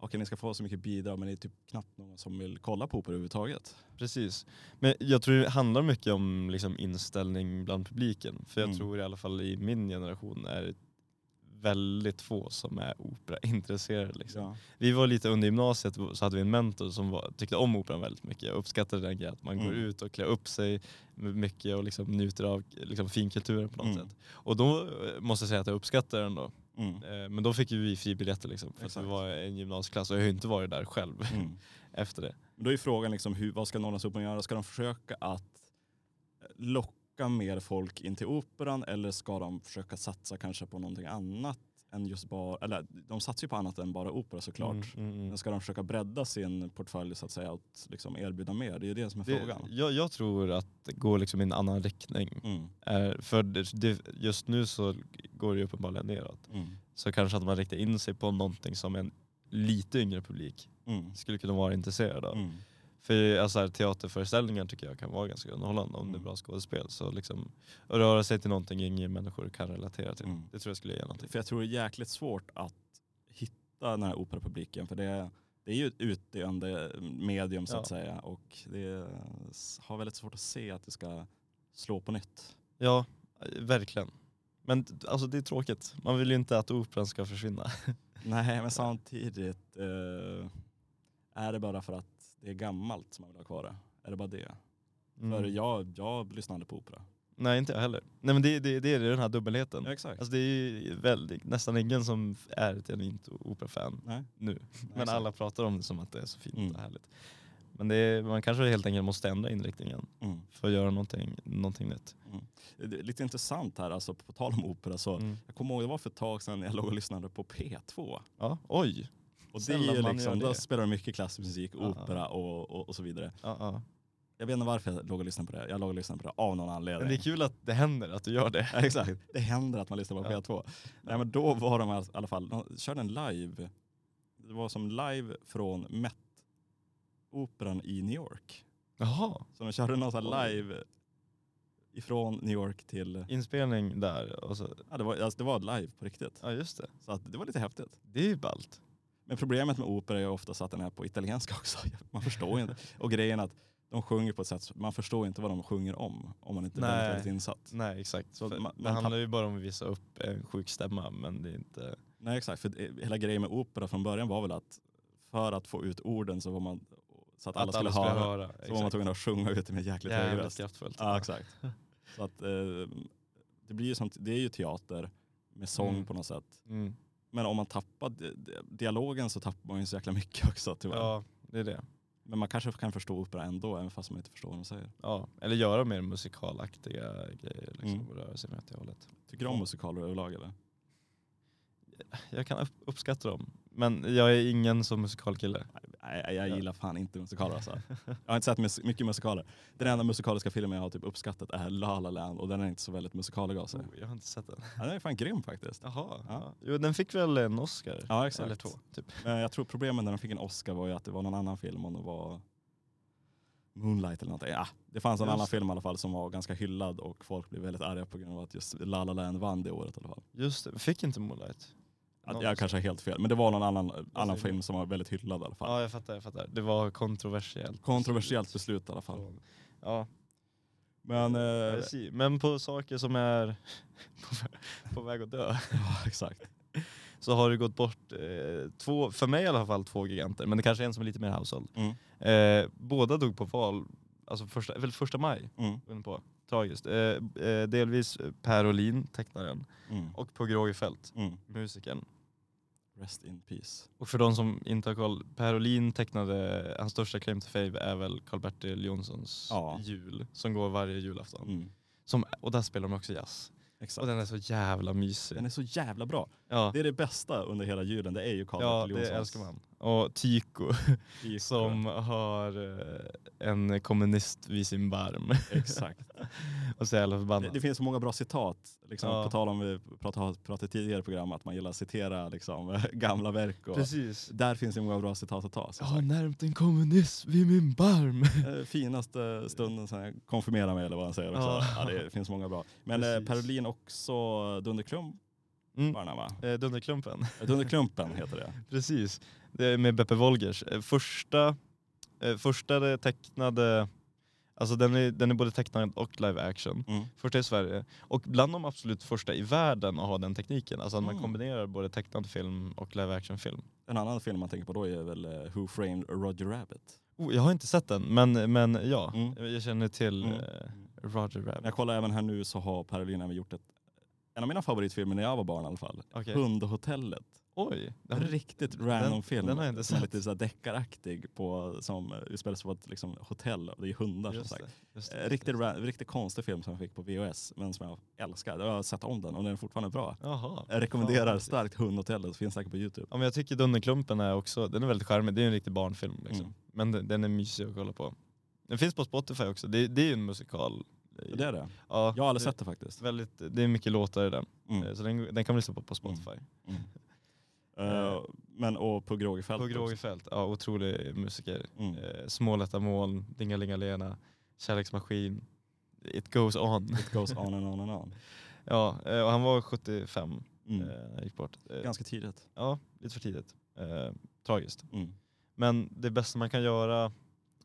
[SPEAKER 1] okej ni ska få så mycket bidrag men det är typ knappt någon som vill kolla på opera överhuvudtaget.
[SPEAKER 2] Precis. Men jag tror det handlar mycket om liksom, inställning bland publiken. För jag
[SPEAKER 1] Mm.
[SPEAKER 2] tror i alla fall i min generation är det väldigt få som är operaintresserade. Liksom.
[SPEAKER 1] Ja.
[SPEAKER 2] Vi var lite under gymnasiet så hade vi en mentor som var, tyckte om operan väldigt mycket och uppskattade den grejen att man går
[SPEAKER 1] Mm.
[SPEAKER 2] ut och klär upp sig mycket och liksom njuter av liksom, finkulturen på något
[SPEAKER 1] Mm.
[SPEAKER 2] sätt. Och då eh, måste jag säga att jag uppskattar den då.
[SPEAKER 1] Mm.
[SPEAKER 2] Eh, Men då fick ju vi fribiljetter liksom, för att
[SPEAKER 1] Exakt.
[SPEAKER 2] vi var en gymnasieklass och jag har ju inte varit där själv
[SPEAKER 1] Mm.
[SPEAKER 2] efter det.
[SPEAKER 1] Men Då är frågan liksom, hur, vad ska Norrlandsoperan göra? Ska de försöka att eh, locka mer folk in till operan eller ska de försöka satsa kanske på någonting annat än just bara, eller de satsar ju på annat än bara opera såklart.
[SPEAKER 2] Mm, mm, mm.
[SPEAKER 1] Men ska de försöka bredda sin portfölj så att säga och liksom erbjuda mer? Det är ju det som är
[SPEAKER 2] Det,
[SPEAKER 1] frågan.
[SPEAKER 2] jag, jag tror att det går liksom i en annan riktning.
[SPEAKER 1] Mm.
[SPEAKER 2] Eh, För det, det, just nu så går det ju uppenbarligen neråt.
[SPEAKER 1] Mm.
[SPEAKER 2] Så kanske att man riktar in sig på någonting som en lite yngre publik
[SPEAKER 1] Mm.
[SPEAKER 2] skulle kunna vara intresserad av.
[SPEAKER 1] Mm.
[SPEAKER 2] För alltså, här, teaterföreställningar tycker jag kan vara ganska underhållande om det är
[SPEAKER 1] Mm.
[SPEAKER 2] bra skådespel. Så liksom, att röra sig till någonting yngre människor kan relatera till.
[SPEAKER 1] Mm.
[SPEAKER 2] Det tror jag skulle ge någonting.
[SPEAKER 1] För jag tror det är jäkligt svårt att hitta den här operapubliken för det, det är ju ett utdöende medium så
[SPEAKER 2] Ja.
[SPEAKER 1] att säga och det är- har väldigt svårt att se att det ska slå på nytt.
[SPEAKER 2] Ja, eh, verkligen. Men t- alltså det är tråkigt. Man vill ju inte att operan ska försvinna.
[SPEAKER 1] Nej, men samtidigt eh, är det bara för att det är gammalt som man vill ha kvar det? Är det bara det? Mm. För
[SPEAKER 2] Mm.
[SPEAKER 1] jag, jag lyssnade på opera.
[SPEAKER 2] Nej, inte jag heller. Nej men det, det, det är den här dubbelheten.
[SPEAKER 1] exakt.
[SPEAKER 2] Alltså det är ju väldigt, nästan ingen som är ett genuint operafan
[SPEAKER 1] Nej.
[SPEAKER 2] nu. Men alla pratar om det som att det är så fint
[SPEAKER 1] Mm.
[SPEAKER 2] och härligt. Men det är, man kanske helt enkelt måste ändra inriktningen
[SPEAKER 1] Mm.
[SPEAKER 2] för att göra någonting, någonting nytt.
[SPEAKER 1] Det är lite intressant här, alltså på tal om opera så.
[SPEAKER 2] Mm.
[SPEAKER 1] Jag kommer ihåg, det var för ett tag sedan jag låg och lyssnade på P2.
[SPEAKER 2] Ja, oj!
[SPEAKER 1] Och det
[SPEAKER 2] Sällan
[SPEAKER 1] är ju
[SPEAKER 2] man
[SPEAKER 1] liksom,
[SPEAKER 2] gör det.
[SPEAKER 1] då spelar de mycket klassisk musik,
[SPEAKER 2] Ja.
[SPEAKER 1] opera och, och, och så vidare.
[SPEAKER 2] Ja, ja.
[SPEAKER 1] Jag vet inte varför jag låg och lyssnade på det. Jag låg och lyssnade på det av någon
[SPEAKER 2] Men det är
[SPEAKER 1] anledning.
[SPEAKER 2] kul att det händer, att du gör det.
[SPEAKER 1] Ja, Exakt, det händer att man lyssnar på
[SPEAKER 2] Ja.
[SPEAKER 1] P2. Nej men då var de i alla fall, de körde en live. Det var som live från Met-operan i New York.
[SPEAKER 2] Jaha,
[SPEAKER 1] Så de körde någon sån här
[SPEAKER 2] Oj.
[SPEAKER 1] live ifrån New York till,
[SPEAKER 2] inspelning där och så,
[SPEAKER 1] ja det var, alltså, det var live på riktigt.
[SPEAKER 2] ja just det.
[SPEAKER 1] Så att det var lite häftigt.
[SPEAKER 2] Det är ju ballt.
[SPEAKER 1] Men problemet med opera är ju oftast att den är på italienska också. Man förstår ju inte. Och grejen är att de sjunger på ett sätt, så- man förstår inte vad de sjunger om om man inte är
[SPEAKER 2] Nej.
[SPEAKER 1] väldigt, väldigt insatt.
[SPEAKER 2] Nej exakt.
[SPEAKER 1] Så
[SPEAKER 2] För
[SPEAKER 1] man-
[SPEAKER 2] det
[SPEAKER 1] man
[SPEAKER 2] handlar ju bara om att visa upp en sjuk stämma men det är inte...
[SPEAKER 1] Nej exakt, för det- hela grejen med opera från början var väl att för att få ut orden så var man, så att alla,
[SPEAKER 2] att
[SPEAKER 1] skulle, höra, så var man
[SPEAKER 2] exakt.
[SPEAKER 1] tvungen att sjunga ut det med jäkligt hög
[SPEAKER 2] Jävligt
[SPEAKER 1] röst.
[SPEAKER 2] kraftfullt.
[SPEAKER 1] Ja exakt. Så att eh, det blir ju sånt, det är ju teater med sång
[SPEAKER 2] Mm.
[SPEAKER 1] på något sätt.
[SPEAKER 2] Mm.
[SPEAKER 1] Men om man tappar di- di- dialogen så tappar man ju så jäkla mycket också tyvärr.
[SPEAKER 2] Ja, det är det.
[SPEAKER 1] Men man kanske kan förstå opera ändå även fast man inte förstår vad de säger.
[SPEAKER 2] Ja. Eller göra mer musikalaktiga grejer liksom,
[SPEAKER 1] Mm.
[SPEAKER 2] och röra sig mer åt det hållet.
[SPEAKER 1] Tycker du om musikaler överlag eller?
[SPEAKER 2] Jag kan upp- uppskatta dem, men jag är ingen som musikalkille.
[SPEAKER 1] Nej, jag
[SPEAKER 2] Ja.
[SPEAKER 1] gillar fan inte musikaler alltså. Jag har inte sett mus- mycket musikaler. Den enda musikaliska filmen jag har typ uppskattat är La La Land och den är inte så väldigt musikalig av sig.
[SPEAKER 2] Oh, jag har inte sett den.
[SPEAKER 1] Ja, den är fan grym faktiskt.
[SPEAKER 2] Jaha.
[SPEAKER 1] Ja.
[SPEAKER 2] Ja. Jo, den fick väl en Oscar?
[SPEAKER 1] Ja exakt.
[SPEAKER 2] Eller två, typ.
[SPEAKER 1] Men jag tror problemet när de fick en Oscar var ju att det var någon annan film om det var Moonlight eller någonting. Ja, det fanns en
[SPEAKER 2] Just
[SPEAKER 1] annan
[SPEAKER 2] det.
[SPEAKER 1] film i alla fall som var ganska hyllad och folk blev väldigt arga på grund av att just La La Land vann det året i alla fall.
[SPEAKER 2] Just det, fick inte Moonlight?
[SPEAKER 1] Att
[SPEAKER 2] Någon
[SPEAKER 1] jag
[SPEAKER 2] Oscar.
[SPEAKER 1] kanske har helt fel men det var någon annan, annan
[SPEAKER 2] säger du?
[SPEAKER 1] film som var väldigt hyllad i alla fall.
[SPEAKER 2] Ja, jag fattar, jag fattar. Det var kontroversiellt.
[SPEAKER 1] Kontroversiellt beslut i alla fall.
[SPEAKER 2] Ja,
[SPEAKER 1] Men,
[SPEAKER 2] jag
[SPEAKER 1] eh,
[SPEAKER 2] ser. men på saker som är på vä- på väg att dö.
[SPEAKER 1] ja, exakt.
[SPEAKER 2] så har det gått bort eh, två, för mig i alla fall två giganter, men det kanske är en som är lite mer household.
[SPEAKER 1] Mm.
[SPEAKER 2] Eh, båda dog på val, alltså första, väl första maj,
[SPEAKER 1] Mm.
[SPEAKER 2] går den på. tragiskt. Eh, eh, delvis Per Olin, tecknaren,
[SPEAKER 1] Mm.
[SPEAKER 2] och Pugh Rogefeldt,
[SPEAKER 1] Mm.
[SPEAKER 2] musikern.
[SPEAKER 1] Rest in peace.
[SPEAKER 2] Och för de som inte har koll, Per Olin tecknade, hans största claim to fame är väl Karl-Bertil Jonssons
[SPEAKER 1] Ja.
[SPEAKER 2] jul, som går varje julafton.
[SPEAKER 1] Mm.
[SPEAKER 2] Som, och där spelar de också jazz. Och
[SPEAKER 1] Exakt.
[SPEAKER 2] den är så jävla mysig.
[SPEAKER 1] Den är så jävla bra.
[SPEAKER 2] ja,
[SPEAKER 1] Mm. Det är det bästa under hela julen. Det är ju Karl
[SPEAKER 2] ja
[SPEAKER 1] Bertil
[SPEAKER 2] det
[SPEAKER 1] Jonssons
[SPEAKER 2] älskar man. Och Tycho.
[SPEAKER 1] Ico.
[SPEAKER 2] Som har eh, en kommunist vid sin barm
[SPEAKER 1] Exakt.
[SPEAKER 2] och så är alla
[SPEAKER 1] Det,
[SPEAKER 2] förbannade.
[SPEAKER 1] det finns så många bra citat. Liksom,
[SPEAKER 2] Ja.
[SPEAKER 1] På tal om vi pratade, pratade tidigare program att man gillar att citera liksom, gamla verk. Och,
[SPEAKER 2] Precis.
[SPEAKER 1] där finns det många bra citat att ta. Som
[SPEAKER 2] Jag har närmt en kommunist vid min barm.
[SPEAKER 1] sagt. Eh, Finaste stunden sen jag konfirmerar mig eller vad han säger också.
[SPEAKER 2] Ja.
[SPEAKER 1] Ja. det finns många bra. Men eh,
[SPEAKER 2] Precis.
[SPEAKER 1] Perolin också Dunderklump
[SPEAKER 2] Mm.
[SPEAKER 1] var den här, va?
[SPEAKER 2] Eh, Dunderklumpen.
[SPEAKER 1] Dunderklumpen heter det.
[SPEAKER 2] Precis. Det är med Beppe Wolgers. Eh, Första, eh, första tecknade, alltså den är, den är både tecknad och live action.
[SPEAKER 1] Mm.
[SPEAKER 2] Första i Sverige. Och bland de absolut första i världen att ha den tekniken. Alltså att
[SPEAKER 1] Mm.
[SPEAKER 2] man kombinerar både tecknad film och live action film.
[SPEAKER 1] En annan film man tänker på då är väl eh, Who Framed Roger Rabbit.
[SPEAKER 2] Oh, jag har inte sett den, men, men ja.
[SPEAKER 1] Mm.
[SPEAKER 2] Jag känner till
[SPEAKER 1] Mm.
[SPEAKER 2] eh, Roger
[SPEAKER 1] Men
[SPEAKER 2] Rabbit.
[SPEAKER 1] jag kollar även här nu så har Parolina även gjort ett, en av mina favoritfilmer när jag var barn i alla fall.
[SPEAKER 2] Okej.
[SPEAKER 1] Hundhotellet.
[SPEAKER 2] Oj! det
[SPEAKER 1] En
[SPEAKER 2] har-
[SPEAKER 1] riktigt random
[SPEAKER 2] den-
[SPEAKER 1] film.
[SPEAKER 2] den har jag inte
[SPEAKER 1] som är
[SPEAKER 2] sett.
[SPEAKER 1] lite så här deckaraktig på, som eh, utspelar sig på ett liksom, hotell och det är hundar
[SPEAKER 2] just
[SPEAKER 1] som
[SPEAKER 2] det,
[SPEAKER 1] sagt.
[SPEAKER 2] just det,
[SPEAKER 1] Eh,
[SPEAKER 2] just
[SPEAKER 1] Riktigt,
[SPEAKER 2] det.
[SPEAKER 1] ra- riktigt konstig film som jag fick på VHS men som jag älskar. Jag har sett om den och den är fortfarande bra.
[SPEAKER 2] Jaha.
[SPEAKER 1] Jag rekommenderar
[SPEAKER 2] Fan.
[SPEAKER 1] starkt Hundhotellet, finns säkert på Youtube.
[SPEAKER 2] Ja, men jag tycker Dunderklumpen är också, den är väldigt charmig. Det är en riktig barnfilm liksom.
[SPEAKER 1] Mm.
[SPEAKER 2] Men den, den är mysig att kolla på. Den finns på Spotify också. Det, det är ju en musikal.
[SPEAKER 1] Det är det.
[SPEAKER 2] Ja,
[SPEAKER 1] Jag har aldrig
[SPEAKER 2] det,
[SPEAKER 1] sett det faktiskt.
[SPEAKER 2] Väldigt, det är mycket låtar i den.
[SPEAKER 1] Mm.
[SPEAKER 2] Eh, Så den, den kan man lyssna på på Spotify.
[SPEAKER 1] Eh, men och på Grågefält.
[SPEAKER 2] På
[SPEAKER 1] också.
[SPEAKER 2] Grågefält, ja otrolig musiker.
[SPEAKER 1] Mm.
[SPEAKER 2] Eh, Små lätta moln, Dingalingalena, Kärleksmaskin. It goes on.
[SPEAKER 1] It goes on and on and on.
[SPEAKER 2] ja, eh, och han var 75
[SPEAKER 1] Mm.
[SPEAKER 2] eh, när han gick bort. Eh,
[SPEAKER 1] Ganska tidigt.
[SPEAKER 2] Ja, lite för tidigt. Eh, tragiskt.
[SPEAKER 1] Mm.
[SPEAKER 2] Men det bästa man kan göra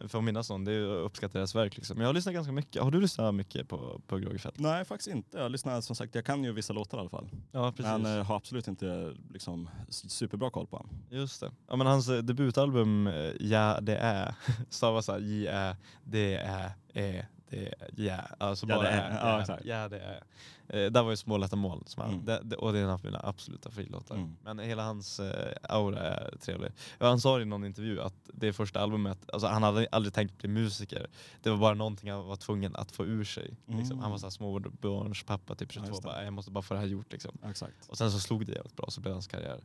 [SPEAKER 2] för att minnas någon, det är att uppskatta deras verk. Liksom. Jag har lyssnat ganska mycket. Har du lyssnat mycket på, på Grågefält?
[SPEAKER 1] Nej, faktiskt inte. Jag lyssnar som sagt, jag kan ju vissa låtar i alla fall.
[SPEAKER 2] Ja,
[SPEAKER 1] Men eh, har absolut inte liksom, s- superbra koll på honom.
[SPEAKER 2] Just det. Ja, men hans eh, debutalbum eh, Ja det är stavas så här J-Ä, det är, E, det är, ja. Alltså
[SPEAKER 1] Ja,
[SPEAKER 2] bara
[SPEAKER 1] det är. Ja,
[SPEAKER 2] Ja,
[SPEAKER 1] exakt.
[SPEAKER 2] ja det är. Eh, där var ju Små lätta mål som han,
[SPEAKER 1] Mm.
[SPEAKER 2] det, det, och det är en av mina absoluta favoritlåtar.
[SPEAKER 1] Mm.
[SPEAKER 2] Men hela hans eh, aura är trevlig. Ja, han sa i någon intervju att det första albumet, alltså han hade aldrig tänkt bli musiker. Det var bara någonting han var tvungen att få ur sig. Liksom.
[SPEAKER 1] Mm.
[SPEAKER 2] Han var så här småbarnspappa typ
[SPEAKER 1] Ja,
[SPEAKER 2] 22,
[SPEAKER 1] just det.
[SPEAKER 2] bara, jag måste bara få det här gjort liksom.
[SPEAKER 1] Exakt.
[SPEAKER 2] Och sen så slog det jävligt bra, så blev hans karriär.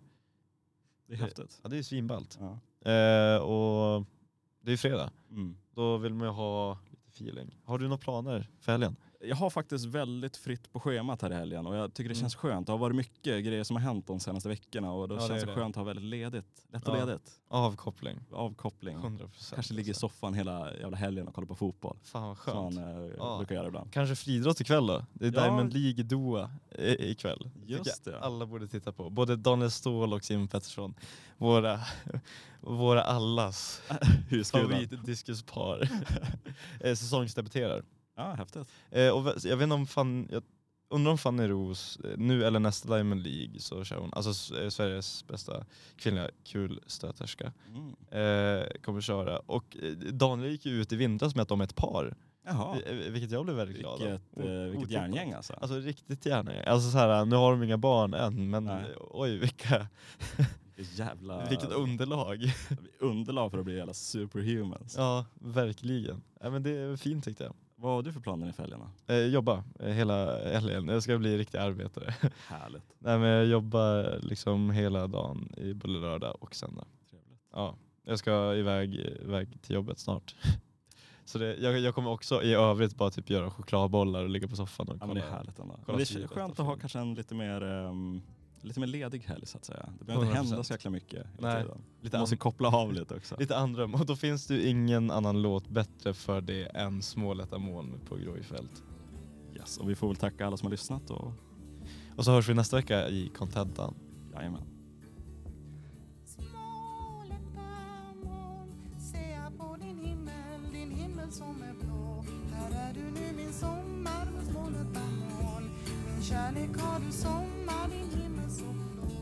[SPEAKER 1] Det är häftigt.
[SPEAKER 2] Ja det är ju svinballt.
[SPEAKER 1] Ja.
[SPEAKER 2] Eh, och det är ju fredag.
[SPEAKER 1] Mm.
[SPEAKER 2] Då vill man ju ha lite feeling. Har du några planer för helgen?
[SPEAKER 1] Jag har faktiskt väldigt fritt på schemat här i helgen och jag tycker det
[SPEAKER 2] Mm.
[SPEAKER 1] känns skönt. Det har varit mycket grejer som har hänt de senaste veckorna och då
[SPEAKER 2] Ja, det
[SPEAKER 1] känns
[SPEAKER 2] är
[SPEAKER 1] det,
[SPEAKER 2] det.
[SPEAKER 1] skönt att ha väldigt ledigt. Lätt och
[SPEAKER 2] Ja.
[SPEAKER 1] ledigt.
[SPEAKER 2] Avkoppling.
[SPEAKER 1] Avkoppling.
[SPEAKER 2] 100 procent. alltså.
[SPEAKER 1] Kanske ligger i soffan hela jävla helgen och kollar på fotboll.
[SPEAKER 2] Fan vad
[SPEAKER 1] Som
[SPEAKER 2] skönt.
[SPEAKER 1] man eh,
[SPEAKER 2] Ja.
[SPEAKER 1] brukar göra ibland.
[SPEAKER 2] Kanske friidrott ikväll då? Det är
[SPEAKER 1] Ja.
[SPEAKER 2] Diamond League Doha i- ikväll.
[SPEAKER 1] Just
[SPEAKER 2] Tycker jag
[SPEAKER 1] det.
[SPEAKER 2] Alla borde titta på. Både Daniel Ståhl och Simon Pettersson. Våra, våra allas
[SPEAKER 1] Husguden.
[SPEAKER 2] favoritdiskuspar. Eh, Säsongsdebuterar.
[SPEAKER 1] Ja, häftigt.
[SPEAKER 2] Eh, och vä- jag vet inte om fan, jag undrar om Fanny Ros eh, nu eller nästa Diamond League så kör hon, alltså S- eh, Sveriges bästa kvinnliga kulstöterska,
[SPEAKER 1] Mm.
[SPEAKER 2] eh, kommer köra. Och eh, Daniel gick ju ut i vintras med att de är ett par,
[SPEAKER 1] Jaha.
[SPEAKER 2] eh, vilket jag blev väldigt glad av.
[SPEAKER 1] Vilket, eh, vilket
[SPEAKER 2] Otippat.
[SPEAKER 1] järngäng alltså.
[SPEAKER 2] Alltså riktigt gärna. Alltså så här, nu har de inga barn än, men
[SPEAKER 1] Nej.
[SPEAKER 2] eh, oj vilka,
[SPEAKER 1] Vilket jävla
[SPEAKER 2] vilket underlag.
[SPEAKER 1] underlag för att bli jävla superhumans.
[SPEAKER 2] ja, verkligen. Ja, men det är fint tyckte jag.
[SPEAKER 1] Vad har du för planer i helgen då?
[SPEAKER 2] Eh, jobba eh, hela helgen, jag ska bli riktig arbetare.
[SPEAKER 1] Härligt.
[SPEAKER 2] Nej men jag jobbar liksom hela dagen i både lördag och söndag.
[SPEAKER 1] Trevligt.
[SPEAKER 2] Ja, jag ska iväg, iväg till jobbet snart. Så det, jag, jag kommer också i övrigt bara typ göra chokladbollar och ligga på soffan och
[SPEAKER 1] Ja, men
[SPEAKER 2] kolla.
[SPEAKER 1] det är härligt ändå. Men
[SPEAKER 2] kolla
[SPEAKER 1] det är
[SPEAKER 2] Sirius
[SPEAKER 1] skönt
[SPEAKER 2] nästa
[SPEAKER 1] att ha
[SPEAKER 2] film.
[SPEAKER 1] kanske en lite mer, ehm, lite mer ledig helg så att säga. Det behöver inte
[SPEAKER 2] 100%.
[SPEAKER 1] hända så jäkla mycket. hela
[SPEAKER 2] Nej,
[SPEAKER 1] tiden.
[SPEAKER 2] lite,
[SPEAKER 1] Man måste
[SPEAKER 2] an,
[SPEAKER 1] koppla av lite också.
[SPEAKER 2] lite andrum. Och då finns det ju ingen annan låt bättre för det än Små lätta moln på Grågefält.
[SPEAKER 1] Yes, och vi får väl tacka alla som har lyssnat och
[SPEAKER 2] Och så hörs vi nästa vecka i kontentan.
[SPEAKER 1] jajamän.
[SPEAKER 4] Små lätta moln ser jag på din himmel, din himmel som är blå. Här är du nu min sommar med små lätta moln. Min kärlek har du sommar, din himmel så blå.